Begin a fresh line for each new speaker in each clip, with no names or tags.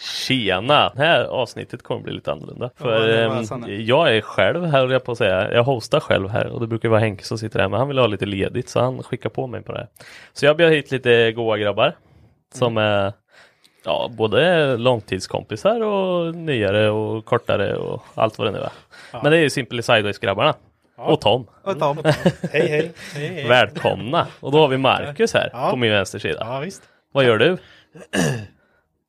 Tjena! Det här avsnittet kommer bli lite annorlunda. För
det var
ehm,
Sanne.
jag är själv här, höll jag på att säga. Jag hostar själv här och det brukar vara Henke som sitter här. Men han vill ha lite ledigt så han skickar på mig på det här. Så jag bjöd hit lite goa grabbar. Som
Mm.
är ja, både långtidskompisar och nyare och kortare och allt vad det nu är. Men det är ju Simply Sideways-grabbarna. Och Tom.
Och Tom.
Hej hej!
Välkomna! Och då har vi Marcus här på min vänstersida.
Ja visst.
Vad gör du?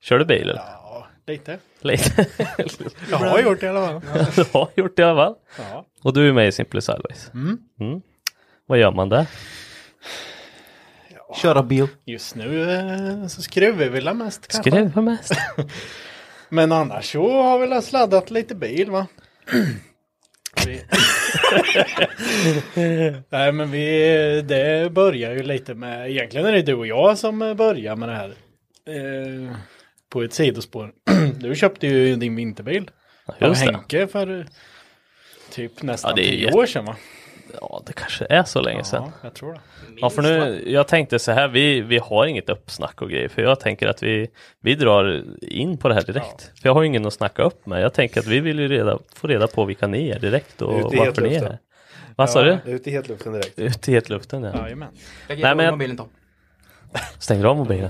Kör du bil eller?
Ja, lite.
Lite.
Jag har gjort det i alla fall.
Du har gjort det i alla fall.
Ja.
Och du är med i Simply Sideways. Mm. Vad gör man där?
Köra bil.
Just nu eh, så skruvar vi väl mest kanske.
Skruva mest.
Men annars så har vi väl sladdat lite bil va. Vi... Nej men vi, det börjar ju lite med, egentligen är det du och jag som eh, börjar med det här. Eh, på ett sidospår. Du köpte ju din vinterbil. Av
Just det.
Henke för eh, typ nästan
Ja, det är
tio
jätte-
år sedan va?
Ja, det kanske är så länge sedan.
Ja, jag tror det.
Ja, för nu, jag tänkte så här, vi, vi har inget uppsnack och grejer, för jag tänker att vi, vi drar in på det här direkt. För jag har ingen att snacka upp med. Jag tänker att vi vill ju reda, få reda på vilka ni är direkt och
Ut i
varför ni är
hetluften.
här. Vad sa du?
Ut i hetluften direkt.
Ut i hetluften, ja.
Jajamän.
Nej, men jag-
mobilen Tom.
Stänger du av mobilen?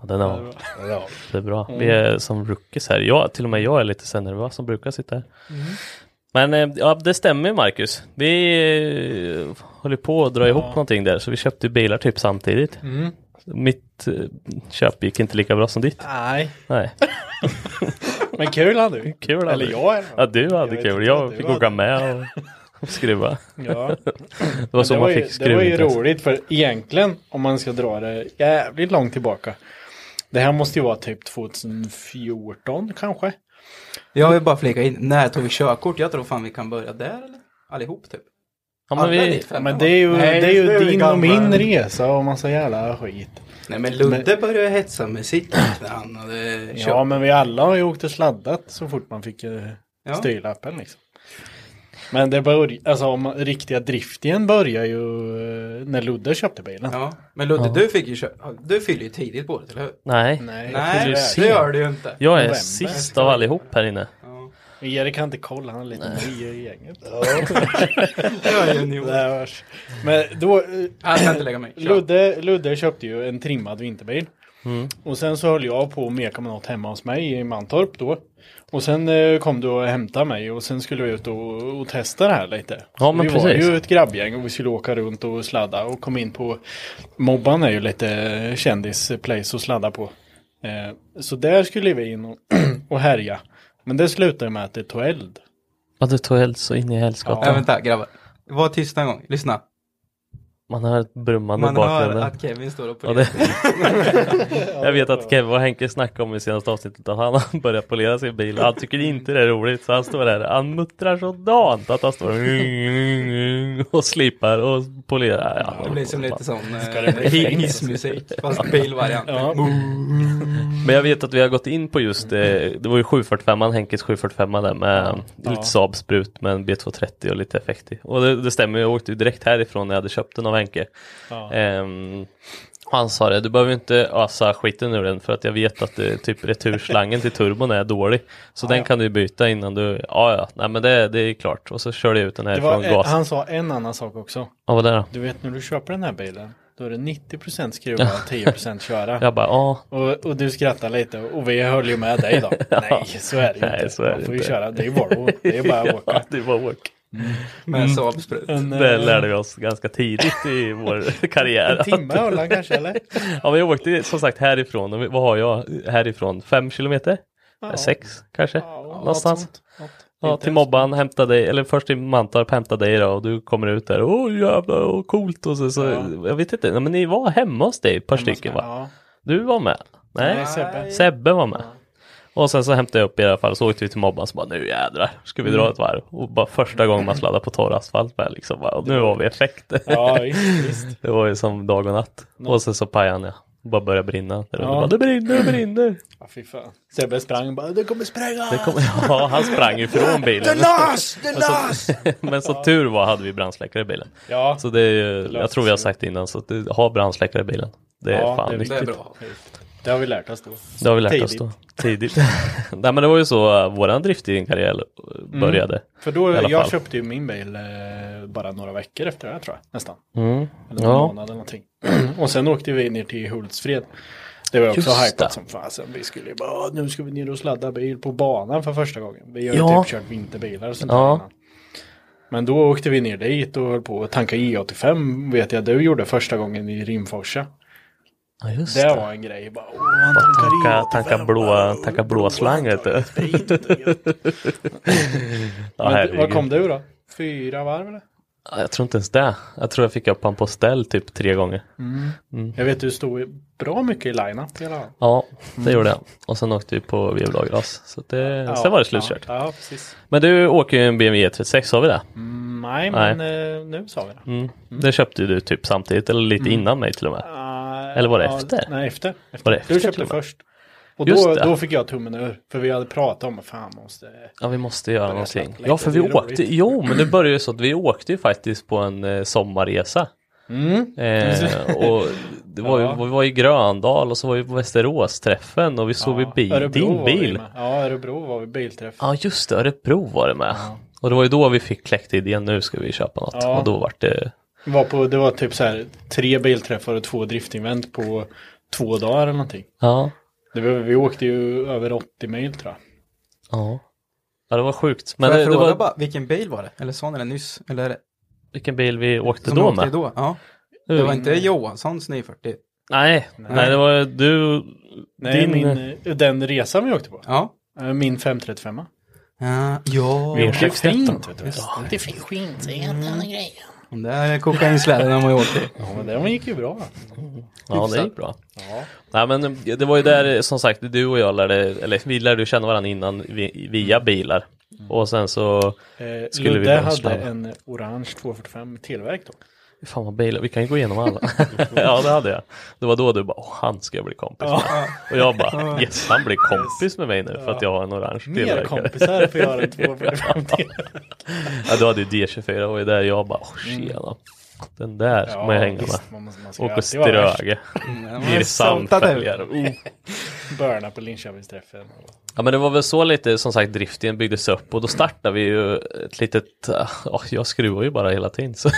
Ja, den är av.
Ja.
Det är bra.
Mm.
Vi är som rookies här. Jag, till och med jag är lite sen nervös som brukar sitta här. Men eh, ja, det stämmer ju, Marcus. Vi eh, håller på att dra ihop någonting där så vi köpte ju bilar typ samtidigt.
Mm.
Mitt eh, köp gick inte lika bra som ditt.
Nej,
Nej,
men kul hade vi.
kul. hade
Eller
vi.
jag i alla fall.
Ja, du
Jag
hade
vet
kul.
inte vad
Jag
du
fick
hade.
åka med och, och skruva.
Ja.
Det var så
det, var
man
ju,
fick
det
skruva.
var ju
inte ens.
roligt för egentligen om man ska dra det jävligt långt tillbaka. Det här måste ju vara typ 2014 kanske.
Jag vill bara flika in, när tog vi körkort? Jag tror fan vi kan börja där eller? Allihop typ.
Ja, men
Alla
vi,
ditt fem,
Men
va?
det är ju,
Nej,
det är ju
nu är vi
din
gamla.
och min resa och massa jävla skit.
Nej men Ludde började hetsa med sitt när han hade kört.
Ja men vi alla har ju åkt och sladdat så fort man fick eh,
Ja.
styrlappen liksom. Men det börjar, alltså om man- riktiga driftigen börjar ju eh, när Ludde köpte bilen.
Ja, men Ludde du fick ju köra, du fyllde ju tidigt på det, eller hur?
nej.
Nej,
fyllde ju
Nej, det
sent.
gör du ju inte.
jag är
november.
sist av allihop här inne.
Ja.
Erik kan inte kolla, han är lite ny i gänget.
Det gör ju en
Det
idiot.
här hörs. Men då, eh,
Jag kan inte lägga mig. Kör.
Ludde, Ludde köpte ju en trimmad vinterbil.
Mm.
Och sen så höll jag på att meka med något hemma hos mig i Mantorp då. Och sen eh, kom du och hämtade mig och sen skulle vi ut och, och testa det här lite.
Ja, men
vi var
precis.
ju ett grabbgäng och vi skulle åka runt och sladda och kom in på Mobban är ju lite kändisplace att sladda på. Eh, så där skulle vi in och, och härja. Men det slutade med att det tog eld.
Ja, du tog eld så in i helskotta.
Nej, vänta grabbar. Var tysta en gång, lyssna.
Man hör ett brummande i
Man hör
bakgrunden.
att Kevin står och
Ja,
polerar.
det... jag vet att Kevin och Henke snackade om i senaste avsnittet att han har börjat polera sin bil. Han tycker inte det är roligt så han står där. Han muttrar så dant att han står och slipar och polerar. Ja,
Det blir som lite sån
det bli
eh,
fängelse?
hissmusik, fast bilvariant.
Ja.
Men jag vet att vi har gått in på just eh, det var ju 745 Henkes 745 där med
Ja.
lite Saab-sprut med en B230 och lite effekt i. Och det, det stämmer, jag åkte ju direkt härifrån när jag hade köpt den av Henke.
Ja.
Ehm, och han sa det, du behöver inte ösa skiten ur den för att jag vet att eh, typ returslangen till turbon är dålig. Så den kan du ju byta innan du, ja ja, nej men det, det är klart. Och så körde jag ut den här
Det
från
var, eh,
gasen.
han sa en annan sak också.
Vad var det då?
Du vet när du köper den här bilen, då är det 90% skruva och 10% köra.
Jag bara, ja,
Och, och du skrattar lite och vi höll ju med dig då. Nej, så är det ju
Nej,
inte.
så är
Man
det
får ju
inte.
köra, det är ju Volvo. Det är bara att
ja
åka.
det var åk.
Med
Mm.
en Saab-sprut.
En,
Det
eh,
lärde vi oss ganska tidigt i vår karriär.
en timme höll han kanske eller?
Ja, men jag åkte som sagt härifrån. Och vad har jag härifrån? Fem kilometer? Eh, Sex kanske? Någonstans.
något sånt. Något.
Ja,
Inte
till
ens-
mobban, hämta dig, eller först till Mantorp, hämta dig då och du kommer ut där. Åh jävlar, åh, coolt och så, så
Ja.
jag vet inte, nej, men ni var hemma hos dig ett par stycken va?
Ja.
Du var med? Nej,
Nej, Sebbe.
Sebbe var med. Och sen så hämtade jag upp i alla fall, så åkte vi till mobban, så bara nu jädrar, ska vi
Mm.
dra ett varv? Och bara första gången man sladdar på torr asfalt med liksom, bara, och nu har vi effekt.
Ja, visst, visst.
Det var ju som dag och natt. Och sen så pajade han ja. Bara började brinna.
Ja.
Ja. Bara, det brinner, det brinner.
Ja, fy fan. Sebbe sprang och bara, det kommer sprängas!
Det kom, ja, han sprang ifrån bilen.
lös! Det
Alltså-
lös!
Men så tur var hade vi brandsläckare i bilen.
Ja,
Så det är ju,
löste
jag tror vi har
sig.
sagt det innan, så att du har brandsläckare i bilen. Det är
Ja,
fan
det är
Det är
nyttigt.
bra.
det har vi lärt oss då.
Det har vi lärt oss då. Tidigt. Nej men det var ju så uh, våran driftkarriär
Mm.
började.
För då,
I alla
jag
fall.
köpte ju min bil eh, bara några veckor efter det här, tror jag, nästan.
Mm.
Eller en
Ja.
månad eller någonting. och sen åkte vi ner till Hultsfred. Det var jag också
Just
hypat
det.
som fasen. Vi skulle ju bara, "Åh, nu ska vi ner och sladda bil på banan för första gången. Vi har ju
Ja.
typ kört vinterbilar och sånt
Ja.
där innan. Men då åkte vi ner dit och höll på att tanka E85 vet jag du gjorde första gången i Rimforsa.
Ja just
Det
det.
var en grej. Bara, åh, han
Bara tanka-
tankar E85.
tanka blåa-
Åh,
tanka blå slang, vet du.
sprit, vet du.
Ja,
Men
herregud.
vad kom du då? Fyra varv eller?
Ja, Jag tror inte ens det. Jag tror jag fick upp han på ställ typ tre gånger.
Jag vet du stod ju bra mycket i line-up i alla fall.
Ja, det gjorde jag. Och sen åkte vi på virvelagras. Så att det, sen var det slutkört.
Mm. Ja, ja precis.
Men du åker ju en BMW 36, E sa vi det?
Nej, men eh, nu sa vi det.
Mm. Det köpte ju du typ samtidigt, eller
Mm.
lite innan mig till och med.
Ah,
Eller var det
ja,
efter?
Nej, efter. efter.
Var det efter
du
till
köpte
och med?
först. Och
Just
då,
det.
då fick jag tummen ur. För vi hade pratat om att fan måste...
Ja, vi måste göra
Börja
någonting.
snacka lite,
Ja, för
det
vi
är roligt.
åkte, jo, men det började ju så att vi åkte ju faktiskt på en eh, sommarresa. Eh, och det var ju,
Mm. Ja.
vi var i Gröndal och så var vi på Västerås-träffen och vi såg vid bil,
Örebro
din
var vi
bil.
med. Ja, Örebro var vi bilträff.
Ja, just det, Örebro var det med. Och det var ju då vi fick kläckt idén, nu ska vi köpa något.
Ja.
Och då vart det,
Var på, det var typ så här tre bilträffar och två driftingvent på två dagar eller någonting.
ja,
Det var, vi åkte ju över 80 mil tror jag.
ja. Ja, det var sjukt. Men
Men
det,
jag
det
frågar
var,
bara, vilken bil var det? Eller sån eller nyss? Eller
vilken bil vi åkte
som
då
åkte
med?
då? Ja.
Mm.
Det var inte Johanssons 940?
Nej, nej, det var ju du,
Nej,
din, eh, min,
min, eh, den resan vi åkte på.
Ja.
Eh, Min 535.
Ja, ja.
Min
Det är
613,
fint. vet du.
Det finns skint, det är en annan grej.
Det är kokainsläden när man åkte.
Ja, men den gick ju bra.
Ja, det
Hyfsat.
gick bra. Nej, men det var ju där som sagt du och jag lärde, eller vi lärde ju känna varandra innan vi, via bilar. Och sen så,
Eh,
Skulle vi
Ludde
bara
hade
sladda?
en orange 245 tillverk då.
fan vad bilar, vi kan ju gå igenom alla. ja, det hade jag. Det var då du bara, Åh, han ska jag bli kompis med. Och jag bara, yes, han blir kompis med mig nu för att jag har en orange
Mer
tillverkare.
kompisar för jag har en 245 tillverkare.
Ja, du hade ju D24 och där jag bara, oh, tjena. Den där ska man ju hänga med.
Mm. visst, man måste- man ska
Och
alltid
och
vara värst. Mm.
ströge. Blir samfälgare. Oh.
Börna på Linköpingsträffen.
Ja men det var väl så lite som sagt driften byggdes upp och då startade vi ju ett litet, äh, ja jag skruvar ju bara hela tiden så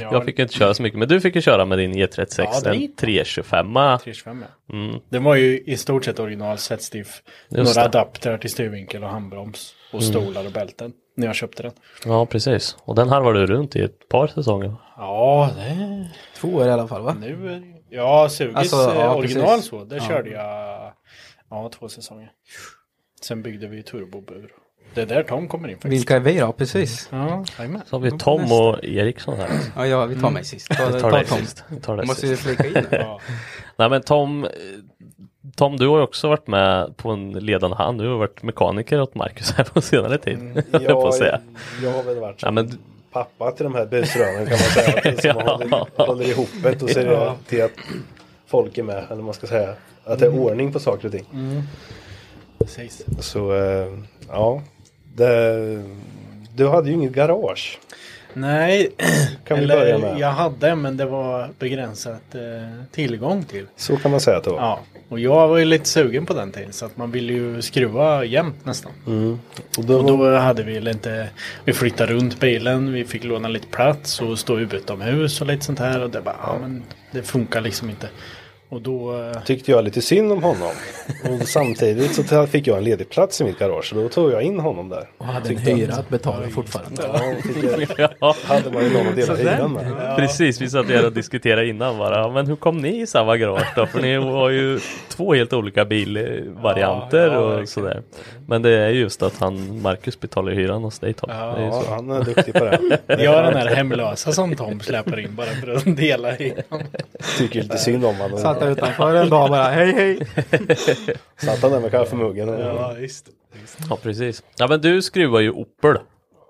Ja.
jag fick ju inte köra så mycket men du fick ju köra med din E E36,
Ja, det är
en
inte-
325
325 ja. Den var ju i stort sett original setstiff. Några
Mm. det. Mm.
adaptrar till styrvinkel och handbroms. Och stolar och bälten. När jag köpte den.
Ja precis, och den harvade du runt i ett par säsonger.
Ja, det,
Två år i alla fall va?
nu är det- Ja, Sugis
Alltså,
eh,
ja,
original
precis.
så. Där körde jag ja, två säsonger. Sen byggde vi turbobur. Det är där Tom kommer in faktiskt.
Vilka är vi då? Precis.
Ja, jajamän.
Så har vi Tom och Eriksson här.
Ja, ja, vi tar mig sist. Ta,
Mm. Vi
ta
tar det
Tom.
sist. Vi tar det
Måste vi
sist.
flika in nu?
Ja.
Nej men Tom, eh, Tom du har ju också varit med på en ledande hand. Du har varit mekaniker åt Marcus här på senare tid. höll jag på att säga.
jag har väl varit
Ja,
som
men du-
pappa till de här busrören kan man säga. Till Som
Ja.
håller, håller ihop det och ser
Ja.
till att folk är med. Eller vad man ska säga. Att det är
Mm.
ordning på saker och ting.
Precis.
Så eh, ja. Det, du hade ju inget garage.
Nej,
Kan vi
eller
börja med.
jag hade men det var begränsat eh, tillgång till.
Så kan man säga att det var.
Ja, och jag var ju lite sugen på den tiden så att man ville ju skruva jämt nästan.
Mm. Och då,
Och då hade vi väl inte, vi flyttade runt bilen, vi fick låna lite plats och stå utomhus och lite sånt här och det bara, ja men det funkar liksom inte. Och då, eh,
tyckte jag lite synd om honom. Och samtidigt så t- fick jag en ledig plats i mitt garage. Och då tog jag in honom där.
Och hade en hyra att betala fortfarande.
Ja, fick jag,
Ja,
hade man ju någon att dela hyran med.
precis, vi satt här och diskuterade innan bara. "Ja, Men hur kom ni i samma garage då? För ni har ju två helt olika bilvarianter
Ja, ja,
och
verkligen.
sådär. Men det är just att han, Marcus betalar hyran hos dig Tom. det är ju
Ja,
så.
han är duktig på det.
jag har den här hemlösa som Tom släpar in bara för att dela i.
Tycker lite synd om honom.
Satt där utanför en dag bara, hej hej.
Satt han där med kaffemuggen? Och,
Ja, visst. visst.
Ja, precis. Ja, men du skruvar ju Opel.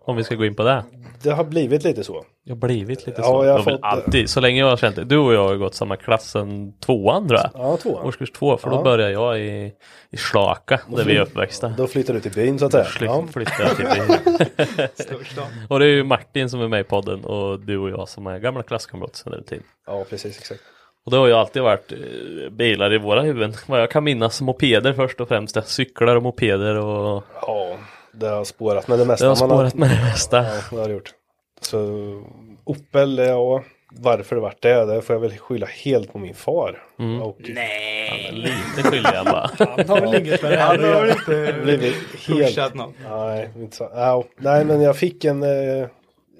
Om vi ska gå in på det.
Det har blivit lite så.
Jag har blivit lite
Ja,
så.
jag har
har väl
fått eh, det.
alltid, så länge jag har känt det. Du och jag har ju gått samma klass sen tvåan tror jag.
Ja, tvåan.
Årskurs två, för då
Ja.
började jag i, i Slaka, där vi är uppväxta.
Då flyttar du till byn så att säga.
Flytt,
Ja.
flyttade jag till byn. och det är ju Martin som är med i podden och du och jag som är gamla klasskamrater sedan den tiden.
ja, precis. Exakt.
Och det har ju alltid varit eh, bilar i våra huvuden. Vad jag kan minnas, mopeder först och främst. Cyklar och mopeder och
Ja, det har spårat med det mesta.
det har
man
spårat med det mesta.
Ja, det har det gjort. Så Opel, ja. Varför det vart det, det får jag väl skylla helt på min far.
Mm.
Och
Lite skyldig jag bara.
Han har väl inget med det här att göra. Han har
blivit helt...
någon.
Nej, inte så. Ja, nej, men jag fick en... Eh,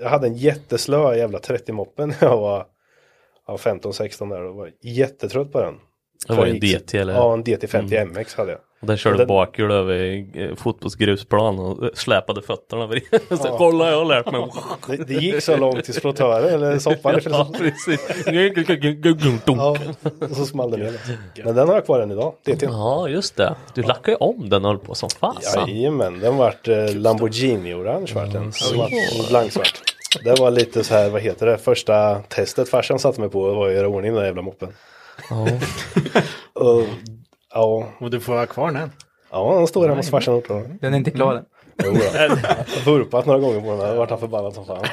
jag hade en jätteslö jävla 30-moppen när jag var ja, 15-16 där och var jättetrött på den.
Det var
Jag
ju en
gick-
DT eller? Mm.
Ja, en DT50 MX hade jag.
Och Där körde
Den-
bakhjul över eh, fotbollsgrusplan och eh, släpade fötterna över i. Så, Kolla jag har lärt mig.
Det, det gick så långt till flottören eller soppan.
Ja,
ja.
precis.
ja, och så small det ner. Men den har jag kvar än idag. DT.
Ja, alltså. just det. Du lackade ju om den och höll på som fasen.
Jajamän, den vart eh, Lamborghini-orange vart den. Svart, blanksvart. Det var lite så här, vad heter det, första testet farsan satte mig på var att göra ordning den där jävla moppen. Och, ja,
Och du får ha kvar den.
ja, han står hemma hos farsan och Jo,
Den är inte klar än.
då. Jag har vurpat några gånger på den här, då vart han förbannad som fan.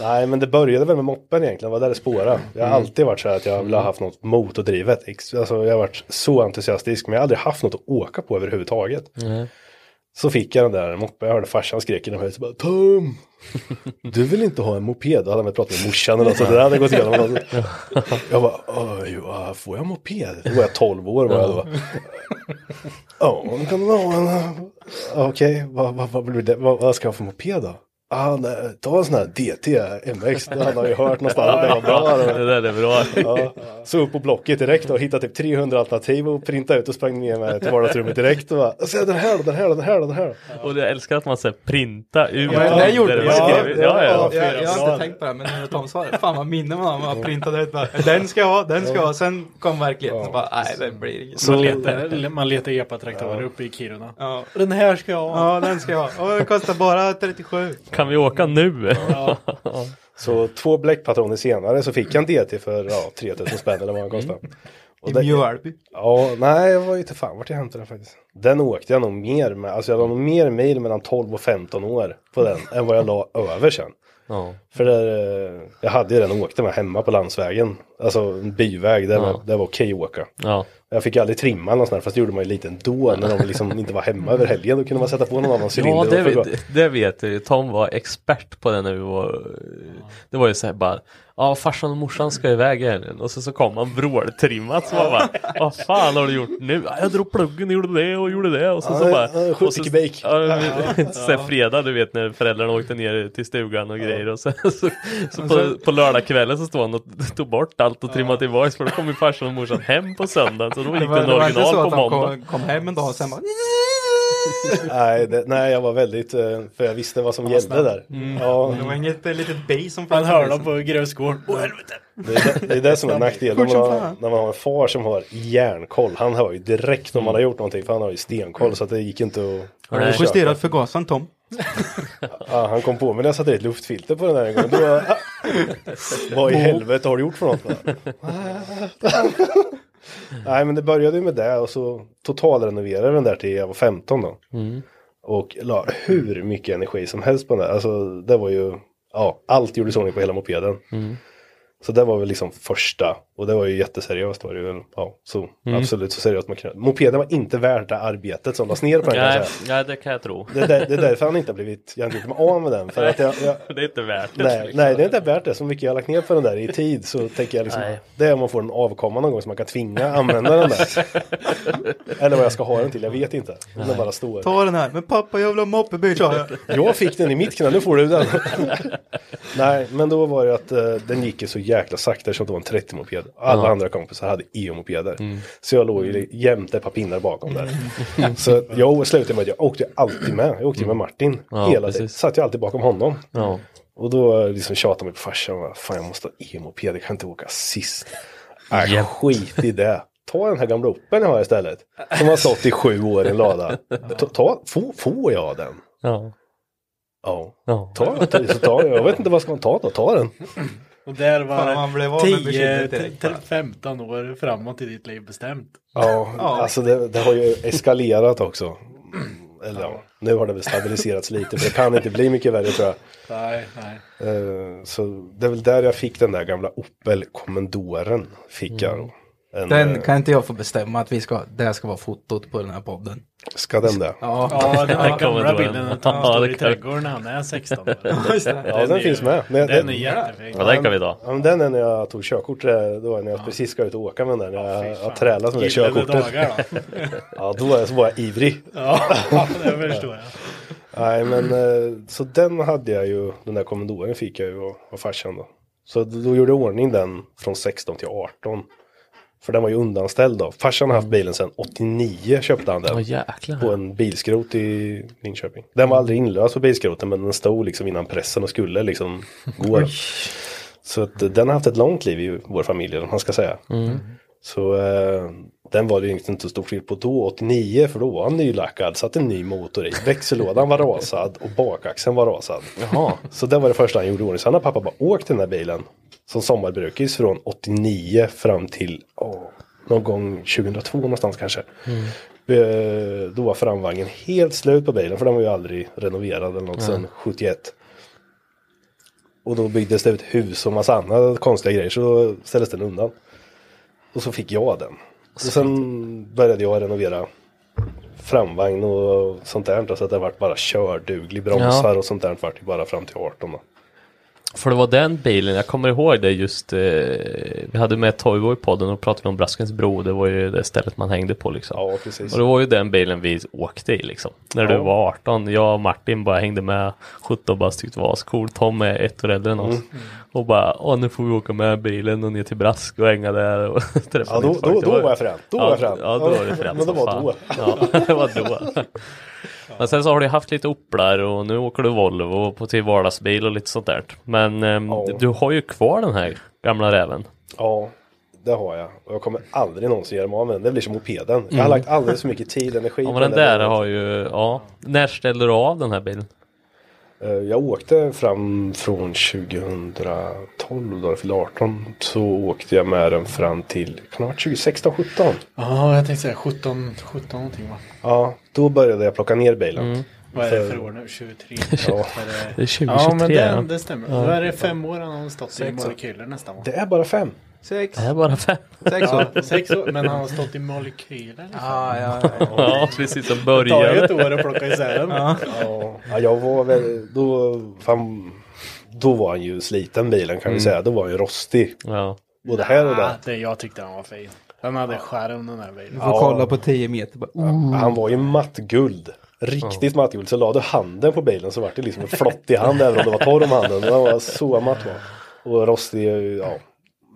Nej, men det började väl med moppen egentligen, det var där det spårade. Jag har alltid varit så här att jag vill ha haft något motordrivet. Ex- Alltså, jag har varit så entusiastisk, men jag har aldrig haft något att åka på överhuvudtaget. Så fick jag den där moppen, jag hörde farsan skrek inomhus bara Tom! Du vill inte ha en moped? Då hade han väl pratat med morsan eller något sånt, det hade gått igenom. Alltså. Jag bara, "Åh, jo, äh, får jag en moped? Då var jag 12 år var jag då. Ja, men kan du ha en? äh, Okej, vad, vad, vad, blir det? vad, vad ska jag ha för moped då? Ah, nej, ta en sån här DT MX, det hade jag ju hört någonstans att det var bra.
Det där är bra.
Ja, så upp på Blocket direkt och hittade typ 300 alternativ och printade ut och sprang ner med till vardagsrummet direkt och bara, se den här, den här, den här, den här.
Och jag älskar att man säger printa ut.
Ja, men det gjorde
det
jag.
var- Ja, ja.
Ja,
Jag, jag har inte tänkt på det, här, men när Tom sa det, fan vad minnen man har. Man printade ut bara, den ska jag ha, den ska jag ha. Sen kom verkligheten och bara, nej det blir inget.
Man letar, man letar epatraktorer uppe i Kiruna.
Ja.
Den här ska jag ha.
ja, den ska jag ha. Och det kostar bara 37.
Kan vi åka nu?
Så två bläckpatroner senare så fick jag en DT för ja, 3000 spänn eller vad den kostade.
Mm.
Och
I
det-
Mjölby.
Ja, nej, jag var ju inte fan vart jag hämtade den faktiskt. Den åkte jag nog mer med, alltså jag la nog mer mil mellan 12 och 15 år på den än vad jag la över sen.
Ja.
För där, eh, jag hade ju den och åkte med hemma på landsvägen, alltså en byväg, där, var, där var okej att åka.
Ja.
Jag fick ju aldrig trimma någon sån här, fast det gjorde man ju lite ändå när de liksom inte var hemma över helgen. Då kunde man sätta på någon annan cylinder.
Ja,
och
det,
få gå.
vet- det vet jag ju. Tom var expert på det när vi var... Det var ju så här bara, ja farsan och morsan ska iväg i helgen. Och så, så kom han vråltrimmat så man bara, vad fan har du gjort nu? "Ja, Jag drog pluggen, gjorde det och gjorde det. Och så, så
Ja,
bara...
ja, sjukt
och så-
mycket bake.
Ja, men- så här fredag, du vet när föräldrarna åkte ner till stugan och grejer. Och så, så, så på, på lördagskvällen så stod han och tog bort allt och trimmade tillbaks. För då kom ju farsan och morsan hem på söndagen. Så då gick
Det var,
den
det var inte så
original
att
på
de
måndag.
kom, kom hem en dag och sen bara,
nej, det, nej, jag var väldigt, eh, för jag visste vad som gällde där.
Mm.
Ja,
Det var inget eh, litet base som
Man
fanns. i
hör
polisen.
dem på grövskål. Åh helvete!
det, är det- det är det som är nackdelen när man, har, när man har en far som har järnkoll. Han hör ju direkt om man har gjort någonting, för han har ju stenkoll, så att det gick inte att...
Mm. Har du
att
justerat förgasaren Tom?
köpa. Ja, han kom på mig när jag satte ett luftfilter på den här en gång. Då var jag, ah, vad i helvete har du gjort för något? Nej, men det började ju med det och så totalrenoverade jag den där till jag var 15 då. Och la hur mycket energi som helst på den där. Alltså det var ju, ja, allt gjordes i ordning på hela mopeden. Så det var väl liksom första, och det var ju jätteseriöst var det ju. Ja, så absolut så seriöst man kunde. Mopeden var inte värd det arbetet som lades ner på den kan jag
Nej,
säga.
nej, det kan jag tro.
Det är, där, det är därför han inte har blivit, jag har inte gjort mig av med den. För att jag, jag,
Det är inte värt det.
nej, nej, det är inte värt det. Så mycket jag har lagt ner på den där i tid så tänker jag liksom,
Nej.
det är om man får en avkomma någon gång så man kan tvinga använda den där. Eller vad jag ska ha den till, jag vet inte. Den bara står.
Ta den här. Men pappa jag vill ha moppebil sa jag.
Jag fick den i mitt knä, nu får du den. Nej, men då var det att eh, den gick ju så jäkla sakta eftersom det var en 30-moped. Alla andra kompisar hade EU-mopeder.
Mm.
Så jag låg ju jämte ett par pinnar bakom där. så jag slutade med att jag åkte ju alltid med. Jag åkte ju med Martin
Mm. Ja,
hela tiden.
precis.
Satt jag alltid bakom honom.
Ja.
Och då liksom tjatade min farsa, bara, fan jag måste ha EU-moped, jag kan inte åka sist. Äh, skit i det. Ta den här gamla Opeln jag har istället. Som har stått i sju år i en lada. Ta, ta, få, får jag den?
Ja.
Ja.
Ja.
Ta, ta, så ta, jag vet inte vad ska man ta då, ta den.
Och där
Fan, man blev
var
av med bekymret direkt, bara.
10-15 år framåt i ditt liv bestämt.
Ja,
Ja.
alltså det, det har ju eskalerat också. Eller ja, nu har det väl stabiliserats lite för det kan inte bli mycket värre tror jag.
Nej, nej.
Eh, Så det är väl där jag fick den där gamla Opel Commandoren. Fick jag då. En,
Mm. Den
eh,
kan inte jag få bestämma att vi ska, det här ska vara fotot på den här podden.
Ska den det?
Ja,
Ja, den här
kommer
gamla
då en.
bilden när Tom
Ja,
står
det
i
kan-
trädgården när han är 16 år.
Ja, den,
är
finns
ju-
med. Men
Den är
den-
jättefin.
ja, den kan vi ta.
Ja, men den är när jag tog körkort, det var när jag precis ska ut och åka med den där, när jag har trälat med det
Gyllene
körkortet.
dagar då.
Ja, då var jag, så var jag ivrig.
Ja, det förstår jag.
Nej, men eh, så den hade jag ju, den där kommandoren fick jag ju av av farsan då. Så då då gjorde jag i ordning den från 16 till 18. För den var ju undanställd då. Farsan har haft bilen sedan 89 köpte han
Åh
den. På
jäklar.
en bilskrot i Linköping. Den var aldrig inlöst på bilskroten men den stod liksom innan pressen och skulle liksom gå. då. Så att eh, den har haft ett långt liv i vår familj om man ska säga.
Mm.
Så eh, den var det ju inte så stor skillnad på då, 89, för då var han nylackad, satte en ny motor i, växellådan var rasad och bakaxeln var rasad.
Jaha.
Så det var det första han gjorde i ordning. Sen har pappa bara åkt den här bilen som sommarbrukis från 89 fram till åh, någon gång 2002 någonstans kanske. Eh, Då var framvagnen helt slut på bilen för den var ju aldrig renoverad eller något sedan 71. Och då byggdes det ett hus och massa andra konstiga grejer så då ställdes den undan. Och så fick jag den. Och sen började jag renovera framvagn och sånt där. då, Så att det vart bara körduglig bromsar och sånt där vart det bara fram till 18. Då.
För det var den bilen, jag kommer ihåg det just, eh, vi hade med Toivo i podden och pratade om Braskens bro, det var ju det stället man hängde på liksom.
Ja, precis.
Och det var ju den bilen vi åkte i liksom. När du
Ja.
var 18, jag och Martin bara hängde med, 17 bara tyckte det var ascool, Tom är ett år äldre än oss.
Mm.
Och bara, åh nu får vi åka med bilen och ner till Brask och hänga där och träffa
Ja, då,
nytt folk."
då,
Det
då var jag frän. Då
ja,
var jag frän.
Ja, då var det
Men
fränt
det
som
var
fan.
då.
Ja, det var då. Men sen så har du haft lite Oplar och nu åker du Volvo på till vardagsbil och lite sånt där. Men ehm,
Ja.
du har ju kvar den här gamla räven.
Ja, det har jag. Och jag kommer aldrig någonsin göra mig av med den. Det blir som mopeden. Jag har lagt alldeles för mycket tid och energi
Mm. Ja,
på
men den där
bilen.
har ju, ja. När ställde du av den här bilen?
Eh, Jag åkte fram från 2012 då jag fyllde 18. Så åkte jag med den fram till, kan det ha varit 2016, 17?
Ja, jag tänkte säga 17, 17 någonting va?
Ja, då började jag plocka ner bilen.
Vad är det för år nu? 23?
Ja.
Vad är det?
Det är 2023.
Ja, men
ja.
det, det stämmer. Då är det fem år han har stått i
Sex år.
molekyler nästan va?
Det är bara fem.
Sex.
Det här är bara fem.
Sex år.
Ja, sex år. Men han har stått i molekyler? liksom.
Ja, ja, ja.
Ja, precis som
Det tar ju ett
började.
år att plocka isär dem.
Ja, ja, jag var väl, då, fan, då var han ju sliten bilen kan vi säga. Då var han ju rostig.
Ja.
Både här och
Ah,
där.
det, jag tyckte han var fin. Han hade skärm den här bilen.
Får kolla på 10 meter bara. Oh.
Han var ju mattguld. Riktigt mattguld. Så la du handen på bilen så var det liksom en flottig hand även om det var torr om handen. Den var så matt var. Och rostig, ja.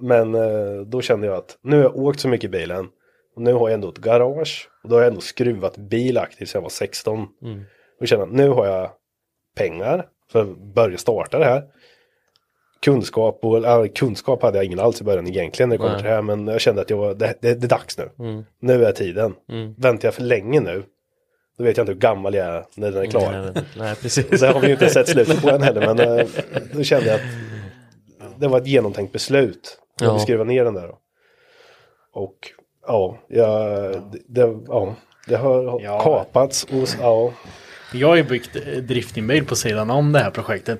Men eh, då kände jag att nu har jag åkt så mycket i bilen. Och nu har jag ändå ett garage. Och då har jag ändå skruvat bil aktivt sedan jag var 16.
Mm.
Och känner att nu har jag pengar för att börja starta det här. Kunskap, och, äh, kunskap hade jag ingen alls i början egentligen när det kommer
Nej.
till det här. Men jag kände att jag, var- det, det, det är dags nu.
Mm.
Nu är tiden.
Mm.
Väntar jag för länge nu, då vet jag inte hur gammal jag är när den är klar.
Nej, nej, nej
Och
precis.
så har vi ju inte sett slutet på den heller, men eh, då kände jag att det var ett genomtänkt beslut. När
Ja.
vi skrev ner den där. då. Och ja, jag, det, ja, det har
Ja.
kapats och ja.
Jag har ju byggt eh, driftingbil på sidan om det här projektet.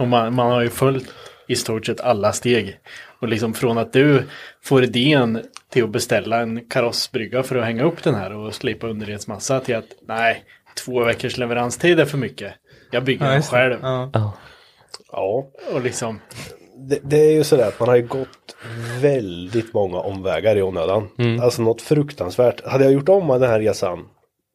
Och man, man har ju följt i stort sett alla steg. Och liksom från att du får idén till att beställa en karossbrygga för att hänga upp den här och slipa underredsmassa till att nej, två veckors leveranstid är för mycket. Jag bygger den
just det.
själv.
Ja.
ja.
Och liksom,
Det, det är ju sådär att man har ju gått väldigt många omvägar i onödan.
Mm.
Alltså något fruktansvärt. Hade jag gjort om den här resan,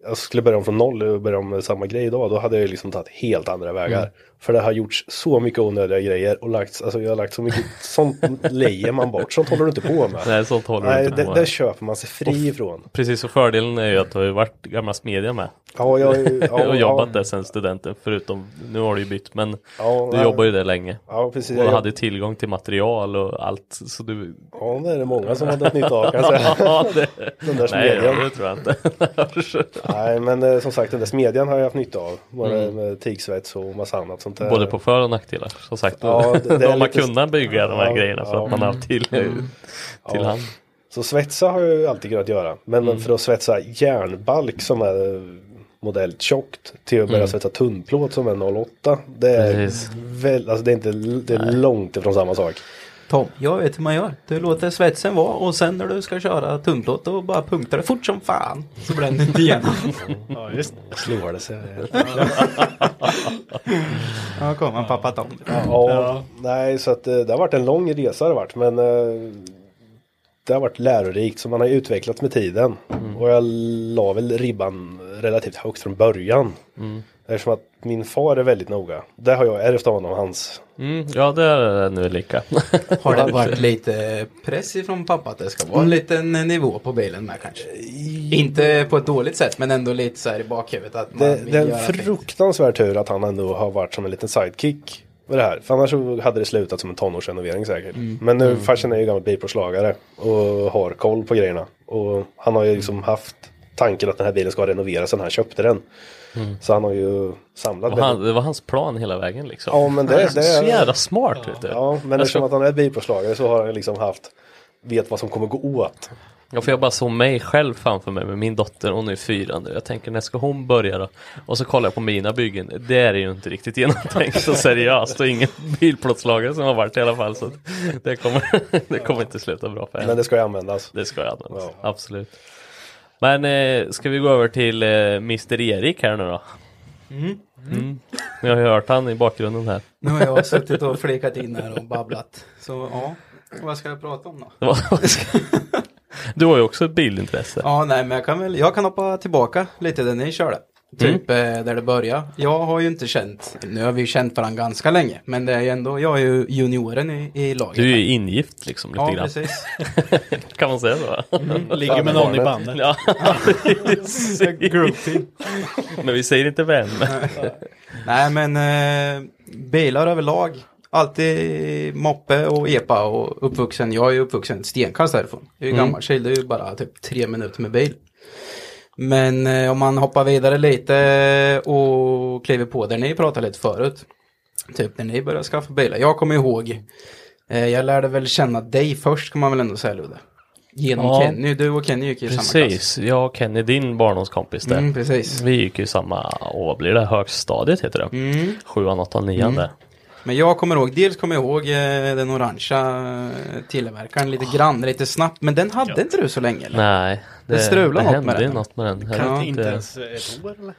jag skulle börja om från noll och börja om med samma grej idag, då hade jag ju liksom tagit helt andra vägar.
Mm.
För det har gjorts så mycket onödiga grejer och lagts, alltså jag har lagt så mycket, sånt lejer man bort, sånt håller du inte på med.
Nej, sånt håller du
Nej,
inte på
det,
med.
det köper man sig fri ifrån.
Precis, och fördelen är ju att du har ju varit gamla smedja med.
Ja, jag har ju- ja,
och jobbat
ja,
där sedan studenten, förutom nu har du ju bytt, men
Ja,
du
nej.
jobbar ju där länge.
Ja, precis.
Och
Jag,
hade tillgång till material och allt. Så du...
Ja, det är det många som har dragit nytta av kan jag säga.
Ja, det...
Den där
Nej,
smedjan.
det tror jag inte.
Nej, men eh, som sagt, den där smedjan har jag haft nytta av. Både med tigsvets och massa annat sånt där.
Mm. Både på för och nackdelar. Som sagt,
Ja, det- det är
då har man
lite-
kunnat bygga de här
Ja,
grejerna för
ja. Mm.
att man har haft till, Mm. till
Ja.
hand.
Så svetsa har jag ju alltid kunnat göra. Men
Mm.
för att svetsa järnbalk som är eh, modell tjockt till att börja svetsa tunnplåt som är 08. Det är,
Mm. Precis.
väl, alltså det är, inte, det är långt ifrån samma sak.
Tom, jag vet hur man gör. Du låter svetsen vara och sen när du ska köra tunnplåt då bara punktar det fort som fan.
Så blir den inte igenom.
ja just
Slår det sig.
Ja, kom han pappa Tom.
Ja, nej så att eh, det har varit en lång resa har det varit men eh, det har varit lärorikt så man har ju utvecklats med tiden. Och jag la väl ribban relativt högt från början. Eftersom att min far är väldigt noga. Det har jag ärvt av honom, hans.
Mm, ja, det är nu lika.
Har det varit lite press ifrån pappa att det ska vara en liten nivå på bilen med kanske? Inte på ett dåligt sätt men ändå lite så här i bakhuvudet att man
Det,
vill
det är en
göra fint.
fruktansvärd tur att han ändå har varit som en liten sidekick. Med det här. För annars så hade det slutat som en tonårsrenovering säkert. Men nu, farsan är ju gammal bilpåslagare och har koll på grejerna. Och han har ju liksom haft tanken att den här bilen ska renoveras sen han köpte den. Så han har ju samlat
Det var, han,
väldigt-
det var hans plan hela vägen liksom.
Ja, men det-
Han är
det-
så jävla smart. Vet du.
Ja, men
jag,
eftersom
ska,
att han är bilpåslagare så har han liksom haft vet vad som kommer gå åt.
ja, för jag bara såg mig själv framför mig med min dotter, hon är fyra nu. Jag tänker när ska hon börja då? Och så kollar jag på mina byggen. Det är ju inte riktigt genomtänkt och seriöst och ingen bilplåtslagare som har varit i alla fall. Så att det, kommer, det kommer inte sluta bra för henne.
Men det ska ju användas.
Det ska jag använda,
Ja.
absolut. Men eh, ska vi gå över till eh, Mr Erik här nu då?
Mm-hmm.
Mm. Ni har ju hört han i bakgrunden här.
Nu har jag suttit och flikat in här och babblat.
Så ja, vad ska jag prata om då?
Det var- du har ju också ett bilintresse.
Ja, nej men jag kan väl, jag kan hoppa tillbaka.
Lite där ni
Mm.
körde. Typ eh, där det började. Jag har ju inte känt, nu har vi ju känt varandra ganska länge, men det är ju ändå, jag är ju junioren i, i laget.
Du är ju ingift liksom lite
Ja,
grann.
precis.
Kan man säga så?
Mm. ligger med någon i bandet.
Ja, precis. Men vi säger inte vem.
Nej men eh, bilar överlag. Alltid moppe och epa och uppvuxen. Jag är ju uppvuxen stenkast härifrån. Jag
Mm.
är ju gammal tjej, det är ju bara typ tre minuter med bil.
Men eh, om man hoppar vidare lite och kliver på där ni pratade lite förut. Typ när ni började skaffa bilar. Jag kommer ihåg, eh, jag lärde väl känna dig först kan man väl ändå säga Ludde. Genom
Ja.
Kenny, du och Kenny gick i samma klass.
Precis, jag och Kenny, din barndomskompis där.
Mm, precis.
Vi gick ju samma, åh vad blir det, högstadiet heter det.
Mm.
Sjuan, åttan, nian där.
Men jag kommer ihåg, dels kommer jag ihåg eh, den orangea eh, tillverkaren lite grann, lite snabbt. Men den hade inte du så länge eller?
Ah. Nej,
Det strulade något med
hände ju
den.
något med den. Jag,
Kan
vet
Inte ens eh, ett år eller?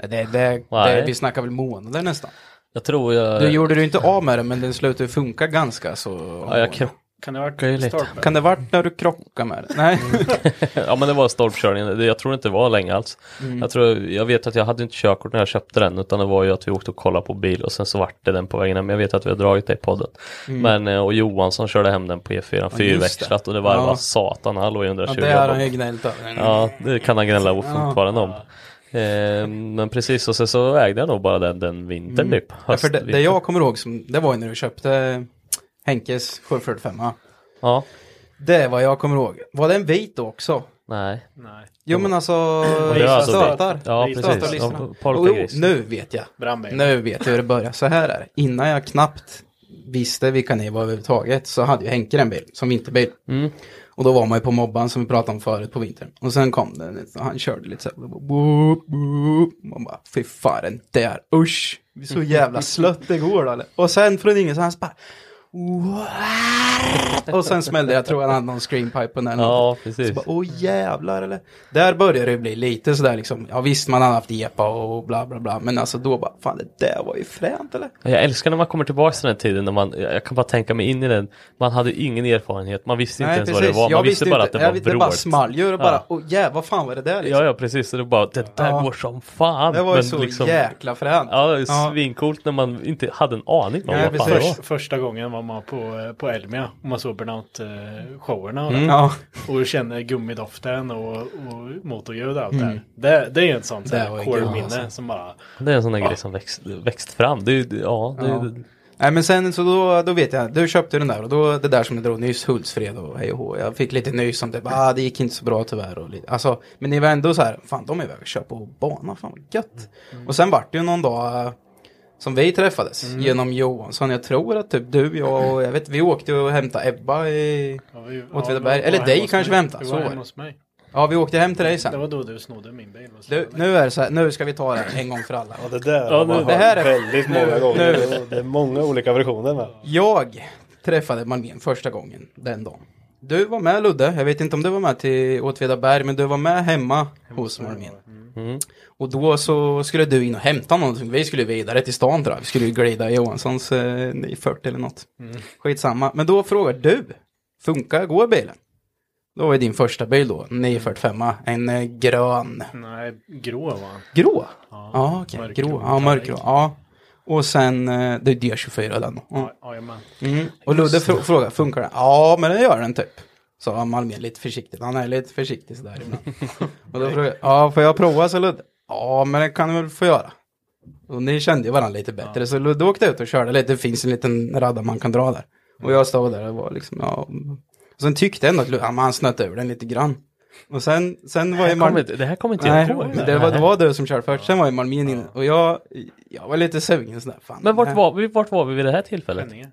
Det, det, det,
Nej.
vi snackar väl månader nästan.
jag tror jag...
Du gjorde du inte av med den men den slutade funka ganska så.
Ja, jag krockade
Kan det ha
Det är
varit
lite.
stolpe?
Kan det varit när du krockade med den? Nej.
Mm. ja men det var stolpkörningen, Det- jag tror inte det var länge alls.
Mm.
Jag, tror, jag vet att jag hade inte körkort när jag köpte den utan det var ju att vi åkte och kollade på bil och sen så vart det den på vägen hem. Men jag vet att vi har dragit det i podden. Men, eh, och Johansson körde hem den på E4,
Mm. det.
fyrväxlat och det var
Ja.
ja. satan, han låg i 120.
Ja, det har han
Jag bara,
ju gnällt över.
Ja, det kan han gnälla fortfarande om. Eh, men precis, och sen så ägde jag nog bara den, den vintern typ.
Mm. Ja, för det, det
Höstvinter.
jag kommer ihåg, som, det var ju när du köpte Henkes 745.
Ja,
Det är vad jag kommer ihåg. Var det en vit då också?
nej.
Mm.
Nej.
Jo men alltså,
Det är alltså-
stötar.
Ja,
Stötar
precis.
listorna.
Ja,
Och jo,
Polkagris.
nu vet jag.
Brandbil.
Nu vet jag hur det börjar. Så här är det. Innan jag knappt visste vilka ni var överhuvudtaget så hade ju Henke en bil som vinterbil.
Mm.
Och då var man ju på mobban som vi pratade om förut på vintern. Och sen kom den lite, och han körde lite så här. och det bara, boop, boop. Man bara, fy fan den där, usch. Så jävla slött det går då. eller? Och sen från ingenstans bara. "Wow!" Och sen smällde jag, tror jag han hade någon screenpipe på den. här.
Ja, precis.
Så bara, åh jävlar eller? Där börjar det bli lite sådär liksom, ja visst man har haft epa och bla bla bla, men alltså då bara, fan det där var ju fränt eller?
Jag älskar när man kommer tillbaka till den här tiden när man, jag kan bara tänka mig in i den, man hade ingen erfarenhet, man visste inte ens vad det var, man
Jag
visste bara att det
jag
var
visste det bara
bråt.
small ju och bara, åh jävlar, vad fan var det där liksom?
Ja, ja precis, så det bara, det där
Ja.
går som fan.
det var ju
Men liksom-
så jäkla fränt.
Ja, det
Ja.
är svincoolt när man inte hade en aning om
Nej,
vad fan det var.
precis.
Först, första gången var man på, eh, på Elmia och man såg burnout-showerna och,
Ja,
och känner gummidoften och, och motorljud och allt det här. Det, det är ju ett sånt
Mm. Det
här
var ju
core
grymt,
minne
alltså.
som bara...
Det är en sån där grej som växt, växt fram. Det är, ju- ja, det är,
Ja. Nej men sen så då, då vet jag, du köpte den där och då det där som du drog nyss, Hultsfred och hej och hå. Jag fick lite nys om det, bara, ah, det gick inte så bra tyvärr. Och lite. Alltså, men ni var ändå så här, fan de är iväg och kör på bana, fan vad gött. Och sen vart det ju någon dag eh, som vi träffades genom Johansson. Jag tror att typ du, jag och jag vet, vi åkte och hämtade Ebba i...
Ja, vi- ja,
Åtvidaberg.
det var
Eller
hemma
dig
hos
kanske vi
mig.
hämtar,
Det
så
var
var
hemma
det.
hos mig.
Ja, vi åkte hem till dig
Det
sen.
var då du snodde min bil. och
Du,
slängde
nu är det så här, nu ska vi ta det här en gång för alla.
Ja, det där
Ja,
har
nu-
man
det
här
hört
är-
väldigt många gånger.
nu.
Det- Det är många olika versioner med.
Jag träffade Malmén första gången den dagen. Du var med Ludde, jag vet inte om du var med till Åtvidaberg, men du var med hemma hos Malmén. Och då så skulle du in och hämta någonting, vi skulle vidare till stan tror jag. Vi skulle ju glida i Johanssons eh, 940 eller något. Skitsamma, men då frågar du, funkar, går bilen? Då var ju din första bil då, 945, en eh, grön.
Nej, grå var han.
Grå? Ja, okej.
mörkgrå
Grå. Ja,
metallic.
mörkgrå. Ja. Och sen, eh, det är D24 den. Ja.
Ja, Jajamän.
Och Ludde fr- frågade, funkar den? Ja, men det gör den typ. Sa Malmén lite försiktigt. Han är lite försiktig sådär ibland. och då frågade jag, ja, får jag prova så Ludde? Ja, men det kan du väl få göra. Och ni kände ju varandra lite bättre, så Ludde åkte ut och körde lite. Det finns en liten radda man kan dra där. Och jag stod där och var liksom, ja. Och sen tyckte jag ändå att Ludde, ja, men han snötte ur den lite grann. Och sen, sen var ju
det, här kommer
Malmén...
inte, det här kommer inte
Nej,
jag ihåg.
det var, det var du som körde först, sen var ju Malmén inne. Och jag, jag var lite sugen sådär, fan.
Men
det
vart
här-
var, vi- vart var vi vid det här tillfället?
Penninge.